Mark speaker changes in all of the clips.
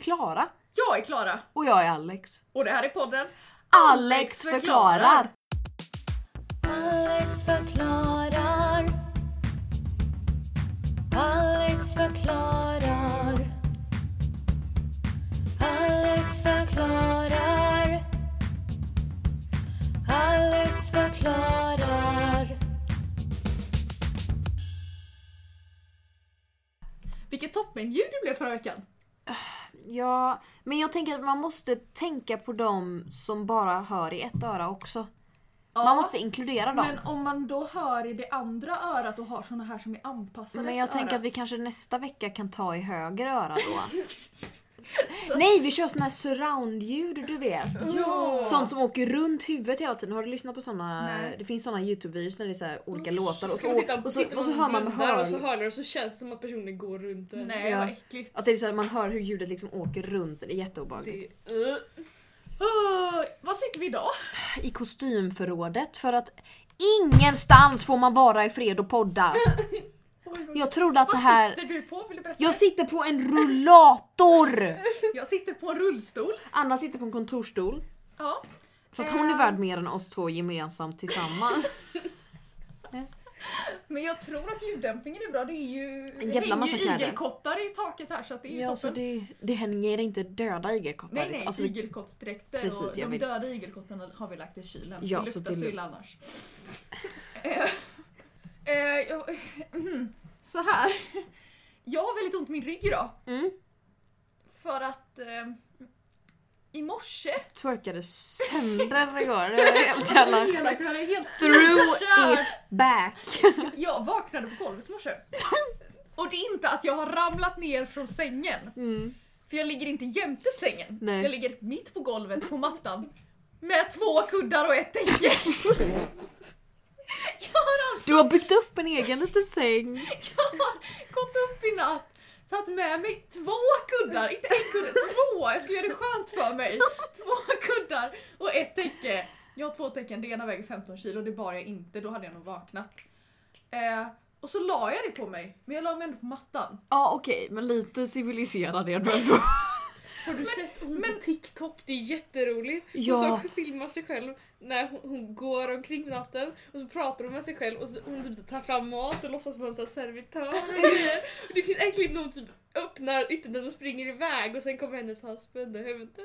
Speaker 1: Klara.
Speaker 2: Jag är Klara
Speaker 1: Och jag är Alex.
Speaker 2: och det här är podden
Speaker 1: Alex förklarar!
Speaker 3: Alex förklarar. Alex förklarar. Alex förklarar. Alex förklarar.
Speaker 2: Vilket toppenljud det blev förra veckan.
Speaker 1: Ja, men jag tänker att man måste tänka på dem som bara hör i ett öra också.
Speaker 2: Ja,
Speaker 1: Man måste inkludera dem.
Speaker 2: men alltså, om man då hör i det andra örat och har såna här som är anpassade
Speaker 1: Men, jag
Speaker 2: efter
Speaker 1: tänker att
Speaker 2: örat.
Speaker 1: vi kanske nästa vecka kan ta i höger öra då. Nej, vi kör såna här surround-ljud du vet.
Speaker 2: Ja!
Speaker 1: Sånt som åker runt huvudet hela tiden. Har du lyssnat på såna?
Speaker 2: Nej.
Speaker 1: Det finns såna Youtube-videos när det är så här olika låtar och så,
Speaker 4: Ska man sitta och,
Speaker 1: och så, och så hör man med
Speaker 4: hör... och så
Speaker 1: hör...
Speaker 4: hör man och så känns det som att personen går runt en.
Speaker 2: Nej
Speaker 1: Ja.
Speaker 2: vad äckligt.
Speaker 1: Att det är så här, man hör hur ljudet liksom åker runt. Det är jätteobehagligt.
Speaker 4: Det, uh,
Speaker 2: Ah, vad sitter vi idag?
Speaker 1: I kostymförrådet för att ingenstans får man vara i fred och podda. Jag trodde att det
Speaker 2: Vad
Speaker 1: här...
Speaker 2: sitter du på? Vill du berätta?
Speaker 1: Jag sitter på en rullator!
Speaker 2: Jag sitter på en rullstol.
Speaker 1: Anna sitter på en kontorsstol.
Speaker 2: Ja.
Speaker 1: För att hon är värd mer än oss två gemensamt tillsammans.
Speaker 2: Men jag tror att ljuddämpningen är bra. Det är ju
Speaker 1: En jävla massa
Speaker 2: det hänger
Speaker 1: kläder.
Speaker 2: ju igelkottar i taket här så att det är ju
Speaker 1: Ja, så
Speaker 2: toppen.
Speaker 1: det, det hänger inte döda igelkottar.
Speaker 2: Nej nej,
Speaker 1: Alltså, det-
Speaker 2: igelkottsdräkter
Speaker 1: Precis,
Speaker 2: och
Speaker 1: jag
Speaker 2: de
Speaker 1: vill-
Speaker 2: döda igelkottarna har vi lagt i kylen.
Speaker 1: Ja,
Speaker 2: det
Speaker 1: så
Speaker 2: luktar
Speaker 1: det
Speaker 2: så
Speaker 1: är-
Speaker 2: illa annars. eh, eh, jag, mm, så här. Jag har väldigt ont i min rygg idag.
Speaker 1: Mm.
Speaker 2: För att eh, i morse...
Speaker 1: twerkade sönder igår. Det var helt jävla...
Speaker 2: Hela kvällen helt
Speaker 1: Through
Speaker 2: Kör!
Speaker 1: it back.
Speaker 2: Jag vaknade på golvet i morse. Och det är inte att jag har ramlat ner från sängen.
Speaker 1: Mm.
Speaker 2: För jag ligger inte jämte sängen.
Speaker 1: Nej.
Speaker 2: Jag ligger mitt på golvet på mattan. Med två kuddar och ett täcke. jag har alltså
Speaker 1: Du har byggt upp en egen liten säng.
Speaker 2: jag har gått upp i natt, tagit med mig två kuddar, inte en kudde, två! Jag skulle göra det skönt för mig. Två kuddar och ett täcke. Jag har två täcken, det ena väger 15 kilo, det bar jag inte, då hade jag nog vaknat. Eh, och så la jag det på mig, men jag la mig ändå på mattan.
Speaker 1: Ja okej, men lite civiliserad är du ändå.
Speaker 4: har du sett hon
Speaker 2: men-
Speaker 4: på TikTok? Det är jätteroligt.
Speaker 1: Ja.
Speaker 4: Hon så filmar sig själv när hon, hon går omkring på natten och så pratar hon med sig själv och så, hon typ så tar fram mat och låtsas vara en sån här servitör och grejer. Och Det finns ett klipp när hon typ öppnar ytterdörren och springer iväg och sen kommer hennes husband och hämtar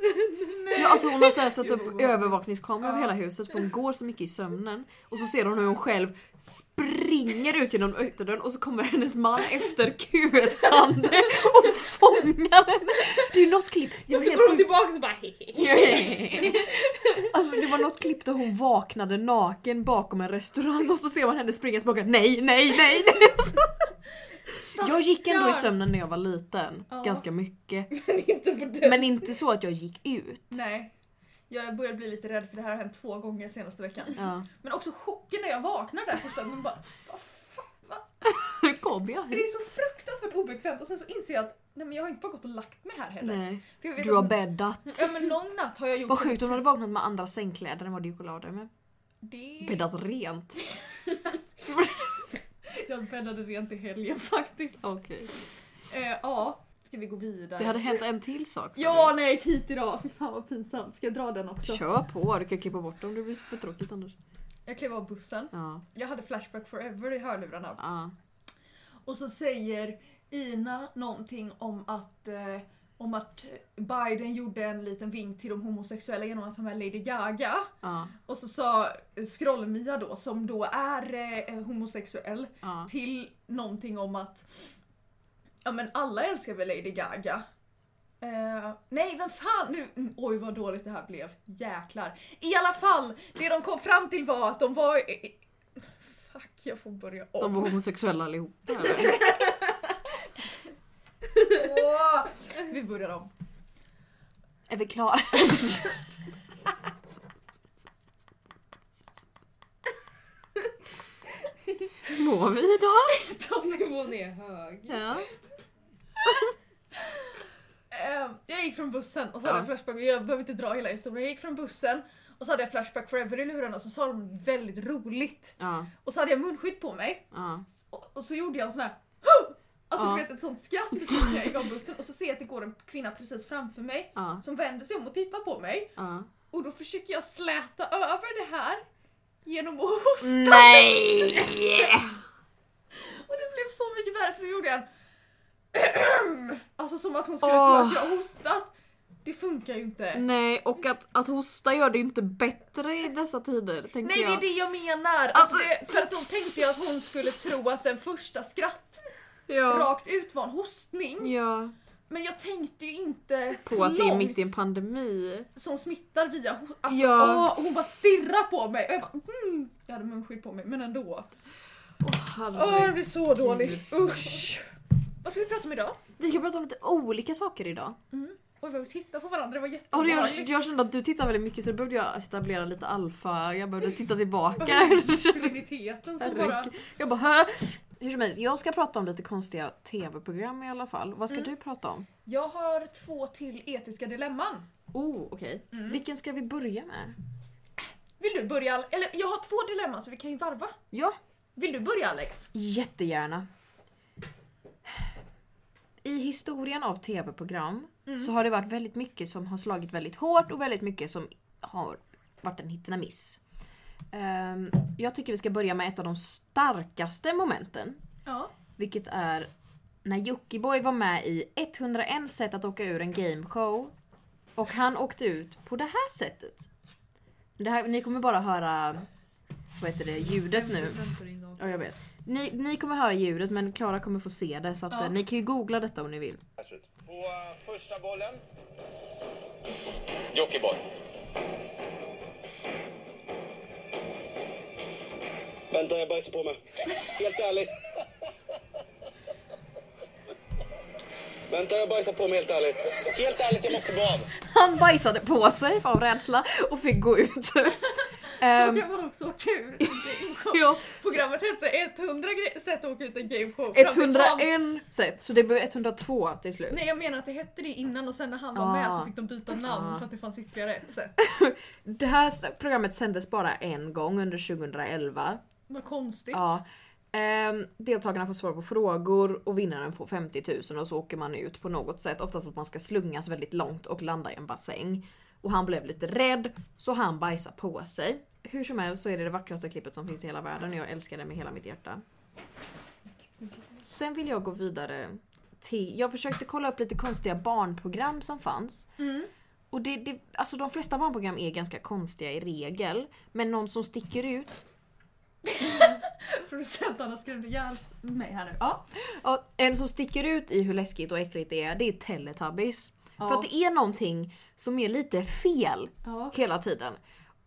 Speaker 1: Ja, alltså hon har så här satt upp
Speaker 2: Jo.
Speaker 1: övervakningskamera över
Speaker 2: Ja.
Speaker 1: hela huset för hon går så mycket i sömnen. Och så ser hon hur hon själv springer ut genom ytterdörren och så kommer hennes man efter kutande och fångar henne. Det är ju något klipp. Det
Speaker 4: Och
Speaker 1: var
Speaker 4: så
Speaker 1: helt
Speaker 4: går hon
Speaker 1: sjukt.
Speaker 4: tillbaka och så bara hehehe.
Speaker 1: Alltså det var något klipp där hon vaknade naken bakom en restaurang och så ser man henne springa tillbaka. Nej, nej, nej, nej. Jag gick ändå i
Speaker 2: Stackarn.
Speaker 1: sömnen när jag var liten.
Speaker 2: Ja.
Speaker 1: Ganska mycket.
Speaker 4: Men inte på den.
Speaker 1: Men inte så att jag gick ut.
Speaker 2: Nej. Jag börjar bli lite rädd för det här har hänt två gånger senaste veckan.
Speaker 1: Ja.
Speaker 2: Men också chocken när jag vaknar där första gången. Bara, vad fan, vad
Speaker 1: Hur kom jag
Speaker 2: Det
Speaker 1: hit?
Speaker 2: är så fruktansvärt obekvämt och sen så inser jag att nej men jag har inte bara gått och lagt mig här heller.
Speaker 1: Nej.
Speaker 2: För jag vet
Speaker 1: Du har
Speaker 2: att-
Speaker 1: bäddat.
Speaker 2: Ja men någon natt har jag gjort
Speaker 1: Vad sjukt om du hade vaknat med andra sängkläder än vad du gick och la dig med.
Speaker 2: det.
Speaker 1: Bäddat rent.
Speaker 2: Jag bäddade rent i helgen faktiskt.
Speaker 1: Okej.
Speaker 2: Eh, ja, ska vi gå vidare?
Speaker 1: Det hade hänt en till sak. sa
Speaker 2: Ja, när jag gick hit idag. Fy fan vad pinsamt. Ska jag dra den
Speaker 1: du.
Speaker 2: också?
Speaker 1: Kör på, du kan klippa bort det om det blir typ för tråkigt annars.
Speaker 2: Jag klev av bussen.
Speaker 1: Ja.
Speaker 2: Jag hade Flashback Forever i hörlurarna.
Speaker 1: ja.
Speaker 2: Och så säger Ina någonting om att, eh, om att Biden gjorde en liten vink till de homosexuella genom att ha med Lady Gaga.
Speaker 1: ja.
Speaker 2: Och så sa eh, Skroll-Mia då, som då är eh, homosexuell,
Speaker 1: ja.
Speaker 2: till någonting om att ja men alla älskar väl Lady Gaga. Eh, nej, vem fan nu? Mm, oj vad dåligt det här blev. Jäklar. I alla fall, det de kom fram till var att de var... eh, eh, Fuck, jag får börja om.
Speaker 1: De var homosexuella allihopa. eller?
Speaker 2: Åh, vi börjar om.
Speaker 1: Är vi klara? Mår vi idag?
Speaker 4: Toppnivån är hög.
Speaker 1: Ja.
Speaker 2: Eh, jag gick från bussen och så hade
Speaker 1: Ja.
Speaker 2: jag Flashback, jag behöver inte dra hela historien. Jag gick från bussen och så hade jag Flashback Forever i lurarna och så sa de väldigt roligt.
Speaker 1: Ja.
Speaker 2: Och så hade jag munskydd på mig
Speaker 1: ja.
Speaker 2: och, och så gjorde jag en sån här Alltså
Speaker 1: Ja.
Speaker 2: du vet ett sånt skratt precis när jag är igång bussen och så ser jag att det går en kvinna precis framför mig
Speaker 1: Ja,
Speaker 2: som vänder sig om och tittar på mig
Speaker 1: ja.
Speaker 2: och då försöker jag släta över det här genom att hosta.
Speaker 1: Mm. Nej!
Speaker 2: Och det blev så mycket värre för då gjorde jag en Alltså som att hon skulle tro
Speaker 1: Åh. Mm,
Speaker 2: att jag har hostat. Det funkar ju inte.
Speaker 1: Nej, och att, att hosta gör det ju inte bättre i dessa tider, tänker
Speaker 2: Nej det är
Speaker 1: jag.
Speaker 2: det jag menar!
Speaker 1: Alltså-
Speaker 2: Alltså, det, för att då tänkte jag att hon skulle tro att den första skratt
Speaker 1: ja.
Speaker 2: rakt ut var en hostning.
Speaker 1: ja.
Speaker 2: Men jag tänkte ju inte
Speaker 1: På
Speaker 2: så
Speaker 1: att det är
Speaker 2: långt
Speaker 1: mitt i en pandemi.
Speaker 2: som smittar via ho- alltså,
Speaker 1: Ja.
Speaker 2: åh, hon bara stirrar på mig och jag bara mm. Jag hade munskydd på mig men ändå. Åh det blir så dåligt, usch! Vad ska vi prata om idag?
Speaker 1: Vi kan prata om lite olika saker idag.
Speaker 2: Oj vad vi tittar på varandra, det var
Speaker 1: Och jag,
Speaker 2: jätteobehagligt.
Speaker 1: jag kände att du tittar väldigt mycket så då behövde jag etablera lite alfa, jag behövde titta tillbaka.
Speaker 2: Maskuliniteten som bara...
Speaker 1: jag bara hö? Hur som helst, jag ska prata om lite konstiga tv-program i alla fall. Vad ska
Speaker 2: Mm.
Speaker 1: du prata om?
Speaker 2: Jag har två till etiska dilemman.
Speaker 1: Oh, okej. Vilken ska vi börja med?
Speaker 2: Vill du börja? Ale- Eller jag har två dilemman så vi kan ju varva.
Speaker 1: Ja,
Speaker 2: Vill du börja Alex?
Speaker 1: Jättegärna. I historien av tv-program så har det varit väldigt mycket som har slagit väldigt hårt och väldigt mycket som har varit en hitten miss. Ehm, jag tycker vi ska börja med ett av de starkaste momenten.
Speaker 2: Ja.
Speaker 1: Vilket är när Jockiboi var med i 101 sätt att åka ur en gameshow. Och han åkte ut på det här sättet. Det här, ni kommer bara höra vad heter det, ljudet nu. Ja, jag vet. Ni, ni kommer höra ljudet men Klara kommer få se det så att,
Speaker 2: Ja.
Speaker 1: eh, ni kan ju googla detta om ni vill.
Speaker 5: På eh, första bollen. Jockiboi.
Speaker 6: Vänta, jag bajsar på mig. Helt ärligt. Vänta, jag bajsar på mig helt ärligt. Helt ärligt, jag måste gå av.
Speaker 1: Han bajsade på sig av rädsla och fick gå ut.
Speaker 2: Så
Speaker 1: Ehm,
Speaker 2: kan man också åka ur en gameshow.
Speaker 1: ja,
Speaker 2: Programmet hette 100 gre- sätt att åka ut en gameshow. fram tills han-
Speaker 1: 101 sätt så det blev 102 till slut.
Speaker 2: Nej jag menar att det hette det innan och sen när han var
Speaker 1: Ah.
Speaker 2: med så fick de byta namn
Speaker 1: Ah.
Speaker 2: för att det fanns ytterligare ett sätt.
Speaker 1: Det här programmet sändes bara en gång under 2011.
Speaker 2: Vad konstigt.
Speaker 1: Ja. Ehm, deltagarna får svara på frågor och vinnaren får 50 000 och så åker man ut på något sätt. Oftast att man ska slungas väldigt långt och landa i en bassäng. Och han blev lite rädd så han bajsar på sig. Hur som helst så är det det vackraste klippet som finns i hela världen och jag älskar det med hela mitt hjärta. Sen vill jag gå vidare till... Jag försökte kolla upp lite konstiga barnprogram som fanns. Och det, det, alltså de flesta barnprogram är ganska konstiga i regel. Men någon som sticker ut
Speaker 2: Producent Anna skrämde ihjäl mig här nu.
Speaker 1: Ja. Ja, en som sticker ut i hur läskigt och äckligt det är, det är Teletubbies.
Speaker 2: Ja.
Speaker 1: För att det är någonting som är lite fel
Speaker 2: Ja.
Speaker 1: hela tiden.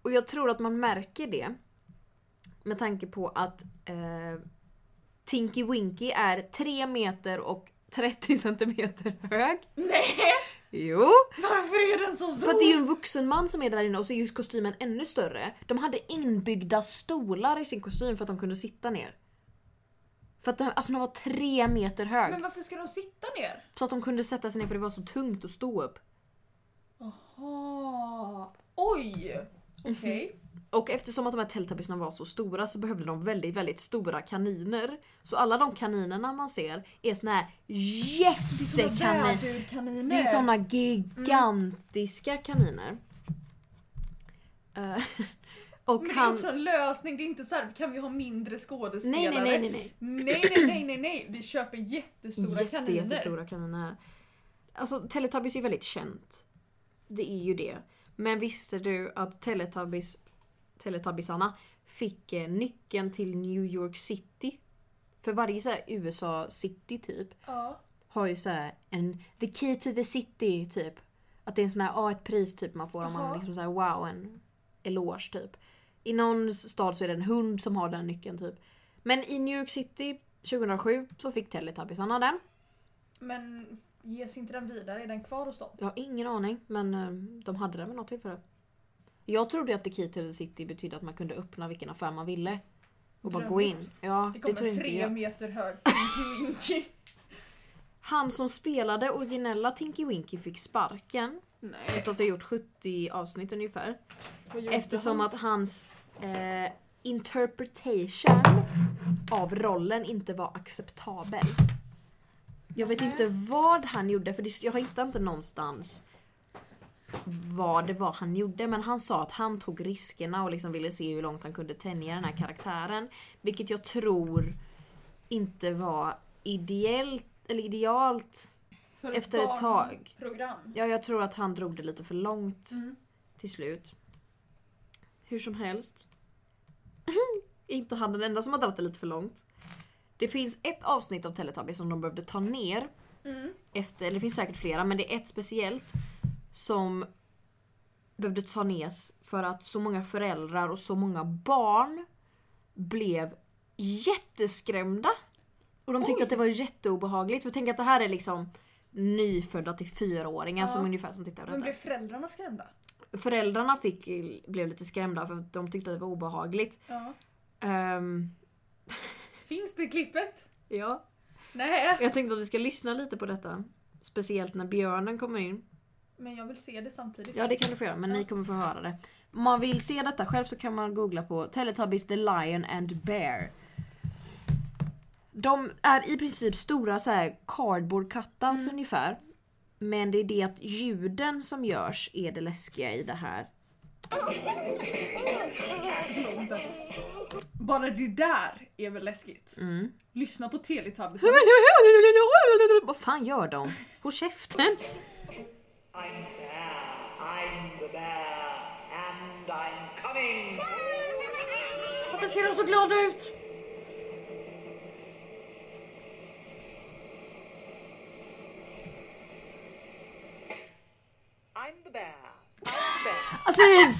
Speaker 1: Och jag tror att man märker det med tanke på att eh, Tinky Winky är 3 meter och 30 centimeter hög.
Speaker 2: Nej!
Speaker 1: Jo!
Speaker 2: Varför är den så stor?
Speaker 1: För att det är ju en vuxen man som är där inne och så är ju kostymen ännu större. De hade inbyggda stolar i sin kostym för att de kunde sitta ner. För att den, alltså den var tre meter hög.
Speaker 2: Men varför ska de sitta ner?
Speaker 1: Så att de kunde sätta sig ner för det var så tungt att stå upp.
Speaker 2: Ah, oj! Okej.
Speaker 1: Och eftersom att de här Teletubbiesna var så stora så behövde de väldigt, väldigt stora kaniner. Så alla de kaninerna man ser är såna här jättekaniner.
Speaker 2: värdurkaniner.
Speaker 1: Det är såna
Speaker 2: Mm.
Speaker 1: gigantiska kaniner. Eh, och
Speaker 2: Men det är
Speaker 1: han...
Speaker 2: också en lösning, det är inte så här, kan vi ha mindre skådespelare?
Speaker 1: Nej, nej, nej, nej, nej.
Speaker 2: Nej, nej, nej, nej, nej. Vi köper jättestora
Speaker 1: Jätte,
Speaker 2: kaniner.
Speaker 1: jättestora kaniner. Alltså Teletubbies är ju väldigt känt. Det är ju det. Men visste du att Teletubbies, Teletubbisarna fick eh, nyckeln till New York City? För varje så här USA city typ
Speaker 2: Ja.
Speaker 1: har ju så här en the key to the city typ. Att det är en sån här, ja ett pris typ man får om man
Speaker 2: Jaha.
Speaker 1: liksom såhär wow en eloge typ. I någon stad så är det en hund som har den nyckeln typ. Men i New York City 2007 så fick Teletubbiesarna den.
Speaker 2: Men ges inte den vidare? Är den kvar hos dem?
Speaker 1: Jag har ingen aning men eh, de hade det vid något tillfälle. Jag trodde ju att The Key to the City betydde att man kunde öppna vilken affär man ville. Och bara gå in.
Speaker 2: Drömmigt.
Speaker 1: Ja,
Speaker 2: Det
Speaker 1: det
Speaker 2: kommer
Speaker 1: tror inte
Speaker 2: tre
Speaker 1: jag.
Speaker 2: meter hög Tinky Winky.
Speaker 1: Han som spelade originella Tinky Winky fick sparken
Speaker 2: Nej,
Speaker 1: efter att ha gjort 70 avsnitt ungefär.
Speaker 2: vad gjorde
Speaker 1: Eftersom
Speaker 2: han?
Speaker 1: att hans eh, interpretation av rollen inte var acceptabel. Jag vet inte vad han gjorde för det, jag hittar inte någonstans vad det var han gjorde men han sa att han tog riskerna och liksom ville se hur långt han kunde tänja den här karaktären. Vilket jag tror inte var ideellt, eller idealt.
Speaker 2: För
Speaker 1: Efter ett tag.
Speaker 2: Program.
Speaker 1: Ja, jag tror att han drog det lite för långt
Speaker 2: Mm.
Speaker 1: till slut. Hur som helst. inte han den enda som har dragit det lite för långt. Det finns ett avsnitt av Teletubbies som de behövde ta ner
Speaker 2: Mm.
Speaker 1: efter, eller det finns säkert flera, men det är ett speciellt som behövde ta ner för att så många föräldrar och så många barn blev jätteskrämda. Och de tyckte att det var jätteobehagligt. För tänk att det här är liksom nyfödda till fyraåringar
Speaker 2: Ja.
Speaker 1: som ungefär som tittar på
Speaker 2: Men
Speaker 1: detta.
Speaker 2: blev föräldrarna skrämda?
Speaker 1: Föräldrarna fick, blev lite skrämda för att de tyckte att det var obehagligt.
Speaker 2: Ja.
Speaker 1: Ehm,
Speaker 2: Finns det klippet?
Speaker 1: ja.
Speaker 2: Nej.
Speaker 1: Jag tänkte att vi ska lyssna lite på detta. Speciellt när björnen kommer in.
Speaker 2: Men jag vill se det samtidigt.
Speaker 1: Ja det kan du få göra men ni kommer få höra det. Om man vill se detta själv så kan man googla på Teletubbies The Lion and Bear. De är i princip stora så här cardboard cutouts ungefär. Men det är det att ljuden som görs är det läskiga i det här.
Speaker 2: Bara det där är väl läskigt?
Speaker 1: Mm.
Speaker 2: Lyssna på Teletubbies.
Speaker 1: Vad fan gör de? Håll käften!
Speaker 7: I'm there. I'm the bear. And I'm coming.
Speaker 2: Varför ser de så glada ut?
Speaker 7: I'm the bear. I'm the bear.
Speaker 1: Alltså det är det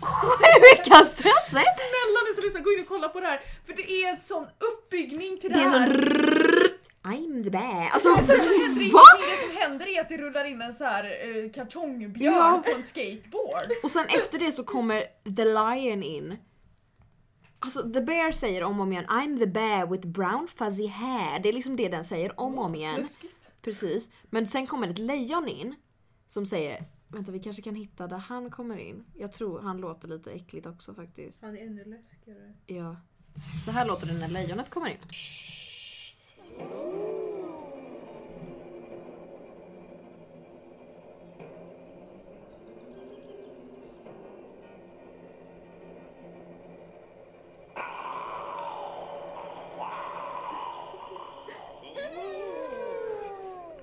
Speaker 1: sjukaste jag sett!
Speaker 2: Snälla ni sluta gå in och kolla på det här. För det är en sån uppbyggning till det,
Speaker 1: Det är
Speaker 2: här.
Speaker 1: sån I'm the bear. Alltså
Speaker 2: Ingenting.
Speaker 1: va?
Speaker 2: Det som händer är att det rullar in en så här eh, kartongbjörn
Speaker 1: Ja.
Speaker 2: på en skateboard.
Speaker 1: Och sen efter det så kommer The Lion in. Alltså The Bear säger om och om igen I'm the bear with brown fuzzy hair. Det är liksom det den säger om och om igen.
Speaker 2: Sluskigt.
Speaker 1: Precis. Men sen kommer ett lejon in som säger Vänta vi kanske kan hitta där han kommer in. Jag tror han låter lite äckligt också faktiskt.
Speaker 4: Han är ännu läskigare.
Speaker 1: Ja. Så här låter det när lejonet kommer in.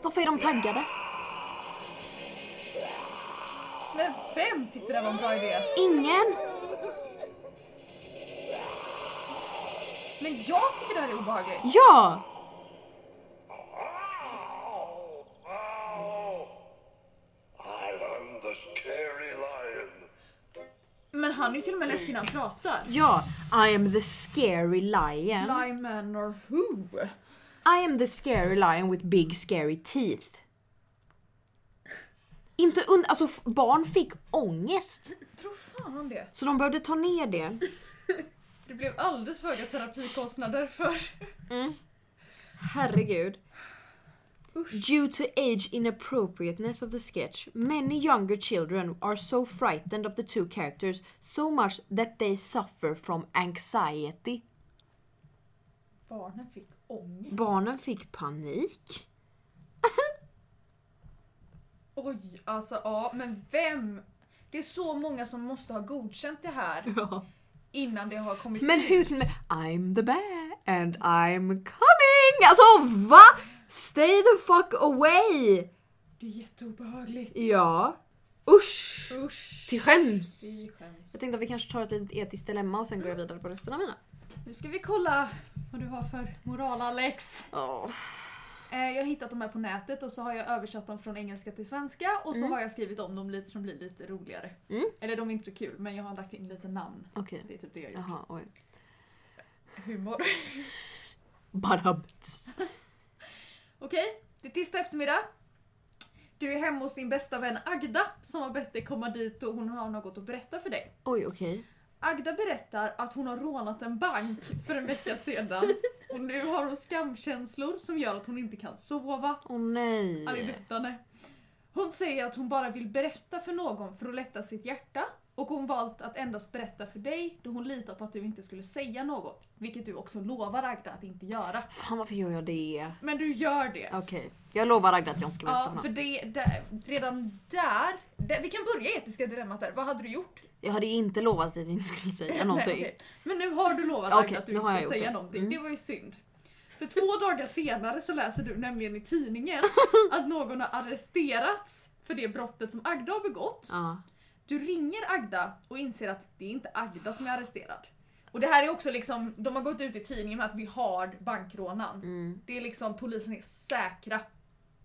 Speaker 1: Varför är de taggade?
Speaker 2: Men vem tyckte det här var en bra idé?
Speaker 1: Ingen!
Speaker 2: Men jag tycker det här är obehagligt.
Speaker 1: Ja!
Speaker 8: I am the scary lion.
Speaker 2: Men han är ju till och med läskig när han pratar.
Speaker 1: Ja! I am the scary lion.
Speaker 2: Lime man or who?
Speaker 1: I am the scary lion with big scary teeth. Inte und- alltså f- barn fick ångest.
Speaker 2: Tror fan det.
Speaker 1: Så de behövde ta ner det.
Speaker 2: Det blev alldeles för höga terapikostnader för...
Speaker 1: Herregud. Due to age inappropriateness of the sketch, many younger children are so frightened of the two characters so much that they suffer from anxiety.
Speaker 2: Barnen fick ångest.
Speaker 1: Barnen fick panik.
Speaker 2: Oj, alltså ja, men vem? Det är så många som måste ha godkänt det här innan det har kommit
Speaker 1: Men
Speaker 2: ut.
Speaker 1: hur kan I'm the bear and I'm coming! Alltså va? Stay the fuck away!
Speaker 2: Det är jätteobehagligt.
Speaker 1: Ja. Usch!
Speaker 2: Usch.
Speaker 1: Till skäms!
Speaker 2: Vi skäms.
Speaker 1: Jag tänkte att vi kanske tar ett litet etiskt dilemma och sen går jag vidare på resten av mina.
Speaker 2: Nu ska vi kolla vad du har för moral Alex.
Speaker 1: Åh.
Speaker 2: Eh, jag har hittat de här på nätet och så har jag översatt dem från engelska till svenska och så har jag skrivit om dem lite som blir lite roligare.
Speaker 1: Mm.
Speaker 2: Eller de är inte så kul men jag har lagt in lite namn.
Speaker 1: Okej.
Speaker 2: Det är typ det jag gör.
Speaker 1: Jaha, oj.
Speaker 2: Humor.
Speaker 1: Badabts.
Speaker 2: Okej, det är tisdag eftermiddag. Du är hemma hos din bästa vän Agda som har bett dig komma dit och hon har något att berätta för dig.
Speaker 1: Oj, okej.
Speaker 2: Agda berättar att hon har rånat en bank för en vecka sedan och nu har hon skamkänslor som gör att hon inte kan sova.
Speaker 1: Åh nej.
Speaker 2: Arg luftande. Hon säger att hon bara vill berätta för någon för att lätta sitt hjärta Och hon valt att endast berätta för dig då hon litar på att du inte skulle säga något. Vilket du också lovar Agda att inte göra.
Speaker 1: Fan varför gör jag det?
Speaker 2: Men du gör det.
Speaker 1: Okej, jag lovar Agda att jag inte ska berätta
Speaker 2: Ja,
Speaker 1: för
Speaker 2: för
Speaker 1: någon.
Speaker 2: det, där, redan där, där... Vi kan börja i etiska dilemmat där. Vad hade du gjort?
Speaker 1: Jag hade inte lovat att jag inte skulle säga
Speaker 2: Nej,
Speaker 1: någonting.
Speaker 2: okej. Men nu har du lovat
Speaker 1: Ja,
Speaker 2: Agda
Speaker 1: okej,
Speaker 2: att du
Speaker 1: nu
Speaker 2: inte
Speaker 1: har jag
Speaker 2: ska
Speaker 1: gjort
Speaker 2: säga
Speaker 1: det.
Speaker 2: någonting.
Speaker 1: Mm.
Speaker 2: Det var ju synd. För två dagar senare så läser du nämligen i tidningen att någon har arresterats för det brottet som Agda har begått.
Speaker 1: Ja.
Speaker 2: Du ringer Agda och inser att det är inte Agda som är arresterad. Och det här är också liksom, de har gått ut i tidningen med att vi har bankrånaren.
Speaker 1: Mm.
Speaker 2: Det är liksom, polisen är säkra.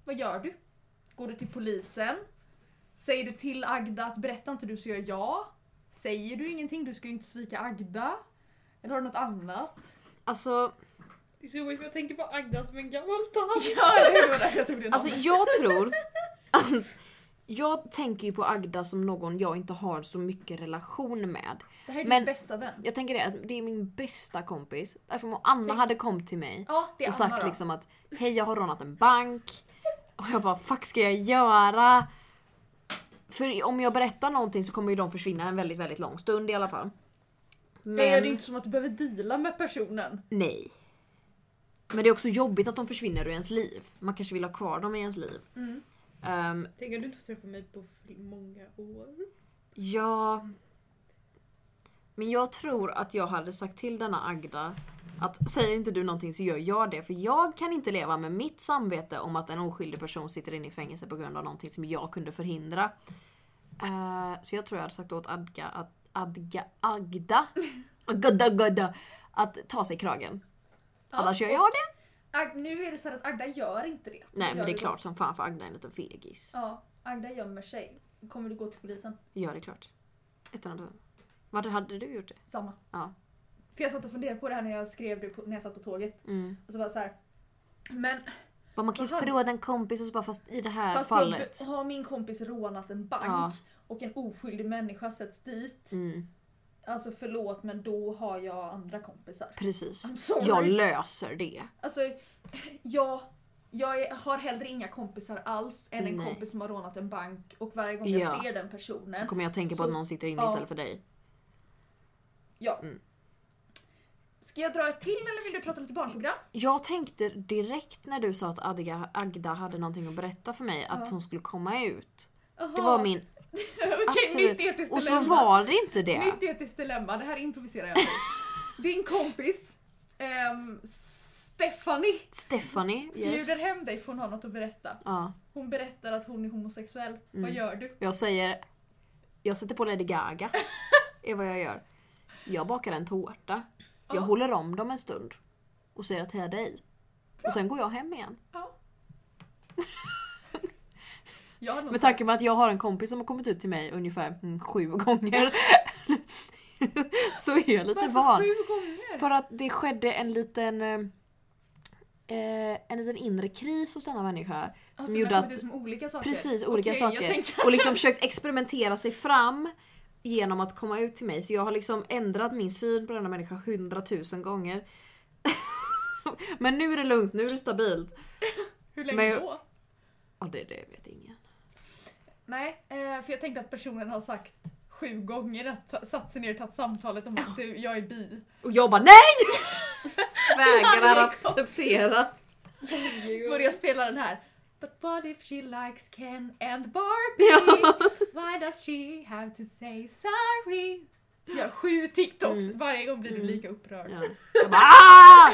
Speaker 2: Vad gör du? Går du till polisen? Säger du till Agda att berätta inte du så gör jag? Säger du ingenting, du ska ju inte svika Agda. Eller har du något annat?
Speaker 1: Alltså,
Speaker 4: Det är så weird för jag tänker på Agda som en gammal tant.
Speaker 2: Ja, det var därför jag tog det
Speaker 1: alltså
Speaker 2: namnet.
Speaker 1: jag tror att jag tänker ju på Agda som någon jag inte har så mycket relation med.
Speaker 2: Det här är din
Speaker 1: men-
Speaker 2: bästa vän.
Speaker 1: Jag tänker det, att det är min bästa kompis. Alltså om Anna hade kommit till mig
Speaker 2: Typ. Ja, det är
Speaker 1: och
Speaker 2: Anna
Speaker 1: sagt
Speaker 2: då.
Speaker 1: liksom att hej jag har rånat en bank. Och jag bara fuck ska jag göra? För om jag berättar någonting så kommer ju de försvinna en väldigt väldigt lång stund i alla fall. Men
Speaker 2: Nej, det är inte som att du behöver deala med personen.
Speaker 1: nej. Men det är också jobbigt att de försvinner ur ens liv. Man kanske vill ha kvar dem i ens liv.
Speaker 2: Mm.
Speaker 1: Ehm,
Speaker 4: Tänk om du inte får träffa mig på fl- många år.
Speaker 1: ja. Men jag tror att jag hade sagt till denna Agda att säger inte du någonting så gör jag det. För jag kan inte leva med mitt samvete om att en oskyldig person sitter inne i fängelse på grund av någonting som jag kunde förhindra. Eh, så jag tror jag hade sagt åt Adga att Adga, Agda, Agda, Agda, att ta sig i kragen.
Speaker 2: Ja,
Speaker 1: Annars gör
Speaker 2: och
Speaker 1: jag det.
Speaker 2: Ag- nu är det så här att Agda gör inte det.
Speaker 1: Nej
Speaker 2: Gör
Speaker 1: men det är
Speaker 2: då.
Speaker 1: klart som fan för Agda är en liten fegis.
Speaker 2: Ja, Agda gömmer sig. Kommer du gå till polisen?
Speaker 1: Ja det är klart. Ett annat. Vad hade du gjort det?
Speaker 2: Samma.
Speaker 1: Ja.
Speaker 2: För jag satt och funderade på det här när jag skrev det på, när jag satt på tåget.
Speaker 1: Mm.
Speaker 2: Och så var jag så här. Men
Speaker 1: Bara, man kan ju
Speaker 2: Vad
Speaker 1: inte
Speaker 2: hade-
Speaker 1: förråda en kompis och så bara fast i det här
Speaker 2: fast
Speaker 1: fallet.
Speaker 2: har- har min kompis rånat en bank
Speaker 1: Ja.
Speaker 2: och en oskyldig människa sätts dit.
Speaker 1: Mm,
Speaker 2: Alltså förlåt men då har jag andra kompisar.
Speaker 1: precis.
Speaker 2: I'm sorry.
Speaker 1: Jag löser det.
Speaker 2: Alltså jag, jag är, har hellre inga kompisar alls än en
Speaker 1: Nej.
Speaker 2: kompis som har rånat en bank och varje gång jag
Speaker 1: Ja.
Speaker 2: ser den personen
Speaker 1: Så kommer jag tänka på
Speaker 2: så-
Speaker 1: att någon sitter inne
Speaker 2: ja.
Speaker 1: istället för dig.
Speaker 2: Ja.
Speaker 1: Mm.
Speaker 2: Ska jag dra ett till eller vill du prata lite barnprogram?
Speaker 1: Jag tänkte direkt när du sa att Agda, Agda hade någonting att berätta för mig att
Speaker 2: Ja.
Speaker 1: hon skulle komma ut. Det
Speaker 2: Aha.
Speaker 1: var min...
Speaker 2: Okej,
Speaker 1: absolut.
Speaker 2: nytt etiskt
Speaker 1: Och så
Speaker 2: dilemma.
Speaker 1: var det inte det.
Speaker 2: Nytt etiskt dilemma, det här improviserar jag nu. Din kompis ehm, Stephanie
Speaker 1: Stephanie, yes.
Speaker 2: bjuder hem dig för hon har något att berätta.
Speaker 1: Ja,
Speaker 2: Hon berättar att hon är homosexuell.
Speaker 1: Mm.
Speaker 2: Vad gör du?
Speaker 1: jag säger... Jag sätter på Lady Gaga. är vad jag gör. Jag bakar en tårta. Jag
Speaker 2: Ja.
Speaker 1: håller om dem en stund. Och säger att hej dig. Och sen går jag hem igen.
Speaker 2: Ja. Jag hade nog
Speaker 1: Med
Speaker 2: sagt-
Speaker 1: tanke på att jag har en kompis som har kommit ut till mig ungefär mm, sju gånger. så är jag lite
Speaker 2: Varför
Speaker 1: van.
Speaker 2: sju gånger?
Speaker 1: För att det skedde en liten eh, eh, en liten inre kris hos denna människa.
Speaker 2: Alltså,
Speaker 1: som
Speaker 2: det
Speaker 1: gjorde
Speaker 2: har
Speaker 1: att...
Speaker 2: kommit ut som olika saker.
Speaker 1: Precis, olika
Speaker 2: Okej, Jag
Speaker 1: saker.
Speaker 2: tänkte alltså- att
Speaker 1: Och liksom försökt experimentera sig fram genom att komma ut till mig. Så jag har liksom ändrat min syn på denna människa hundratusen gånger. Men nu är det lugnt, nu är det stabilt.
Speaker 2: hur länge
Speaker 1: Men-
Speaker 2: då?
Speaker 1: Ja, det, det vet ingen.
Speaker 2: Nej, eh, för jag tänkte att personen har sagt sju gånger att ta- satt sig ner och tagit samtalet om att du, jag är bi.
Speaker 1: Och jag bara NEJ! Vägrar acceptera.
Speaker 2: Börjar spela den här. But what if she likes Ken and
Speaker 1: Ja.
Speaker 2: Barbie? Why does she have to say sorry? Gör sju TikToks,
Speaker 1: Mm.
Speaker 2: varje gång blir du lika upprörd.
Speaker 1: Ja. Jag bara "Ah!"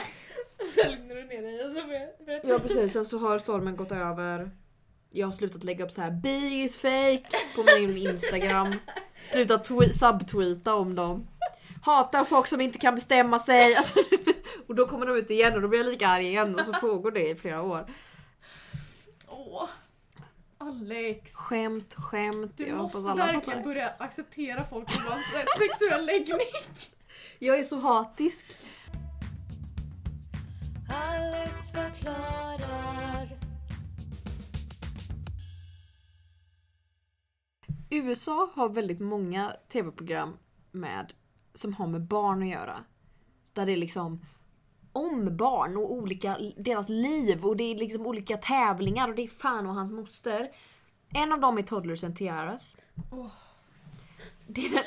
Speaker 4: Och sen lugnar du ner dig och så börjar jag berätta.
Speaker 1: Ja precis, sen så har stormen gått över. Jag har slutat lägga upp så här "Bi is fake på min instagram. Slutat twe- subtweeta om dem. Hatar folk som inte kan bestämma sig. Alltså, och då kommer de ut igen och då blir jag lika arg igen och så pågår det i flera år.
Speaker 2: Åh, Alex.
Speaker 1: Skämt, skämt.
Speaker 2: Du
Speaker 1: jag
Speaker 2: måste
Speaker 1: hoppas alla
Speaker 2: verkligen
Speaker 1: fattar.
Speaker 2: börja acceptera folk oavsett sexuell läggning.
Speaker 1: Jag är så hatisk.
Speaker 3: Alex förklarar.
Speaker 1: USA har väldigt många tv-program med, som har med barn att göra. Där det är liksom om barn och olika, deras liv och det är liksom olika tävlingar och det är fan och hans moster. En av dem är Toddlers and Tiaras. Det är den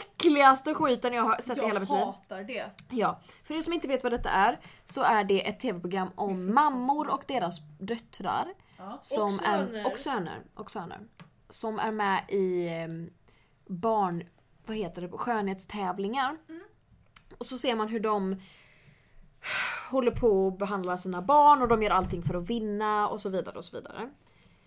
Speaker 1: äckligaste skiten jag har sett i hela mitt liv.
Speaker 2: hatar det.
Speaker 1: Ja, för er som inte vet vad detta är så är det ett tv-program om mammor och deras döttrar.
Speaker 2: Ja.
Speaker 1: Som
Speaker 4: Och söner.
Speaker 1: Är, och söner. Och söner. Som är med i eh, barn... Vad heter det? Skönhetstävlingar. Och så ser man hur de håller på och behandlar sina barn och de gör allting för att vinna och så vidare och så vidare.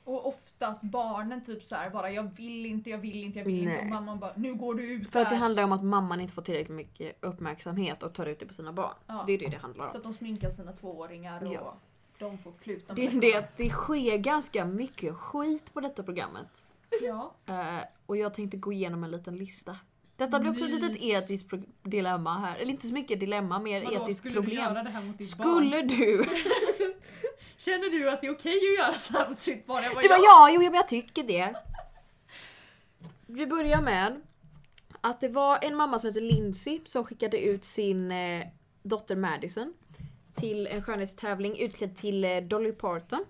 Speaker 2: Och ofta att barnen typ så här bara jag vill inte, jag vill inte, jag vill
Speaker 1: Nej.
Speaker 2: inte. Och mamman bara nu går du ut
Speaker 1: För att det
Speaker 2: där.
Speaker 1: handlar om att mamman inte får tillräckligt mycket uppmärksamhet och tar ut det på sina barn.
Speaker 2: Ja.
Speaker 1: Det är det det handlar om.
Speaker 2: Så att de sminkar sina tvååringar och
Speaker 1: Ja.
Speaker 2: de får pluta
Speaker 1: Det är det att det sker ganska mycket skit på detta programmet.
Speaker 2: Ja.
Speaker 1: Eh, och jag tänkte gå igenom en liten lista. Detta blir också ett litet
Speaker 2: Mys.
Speaker 1: etiskt pro- dilemma här. Eller inte så mycket dilemma, mer
Speaker 2: Vadå,
Speaker 1: etiskt
Speaker 2: skulle du
Speaker 1: problem.
Speaker 2: göra det här mot ditt barn?
Speaker 1: skulle du?
Speaker 2: Känner du att det är okej att göra så här mot sitt barn? Jag bara,
Speaker 1: Det var
Speaker 2: ja.
Speaker 1: ja, jo men jag tycker det. Vi börjar med att det var en mamma som heter Lindsay som skickade ut sin eh, dotter Madison till en skönhetstävling utklädd till eh, Dolly Parton.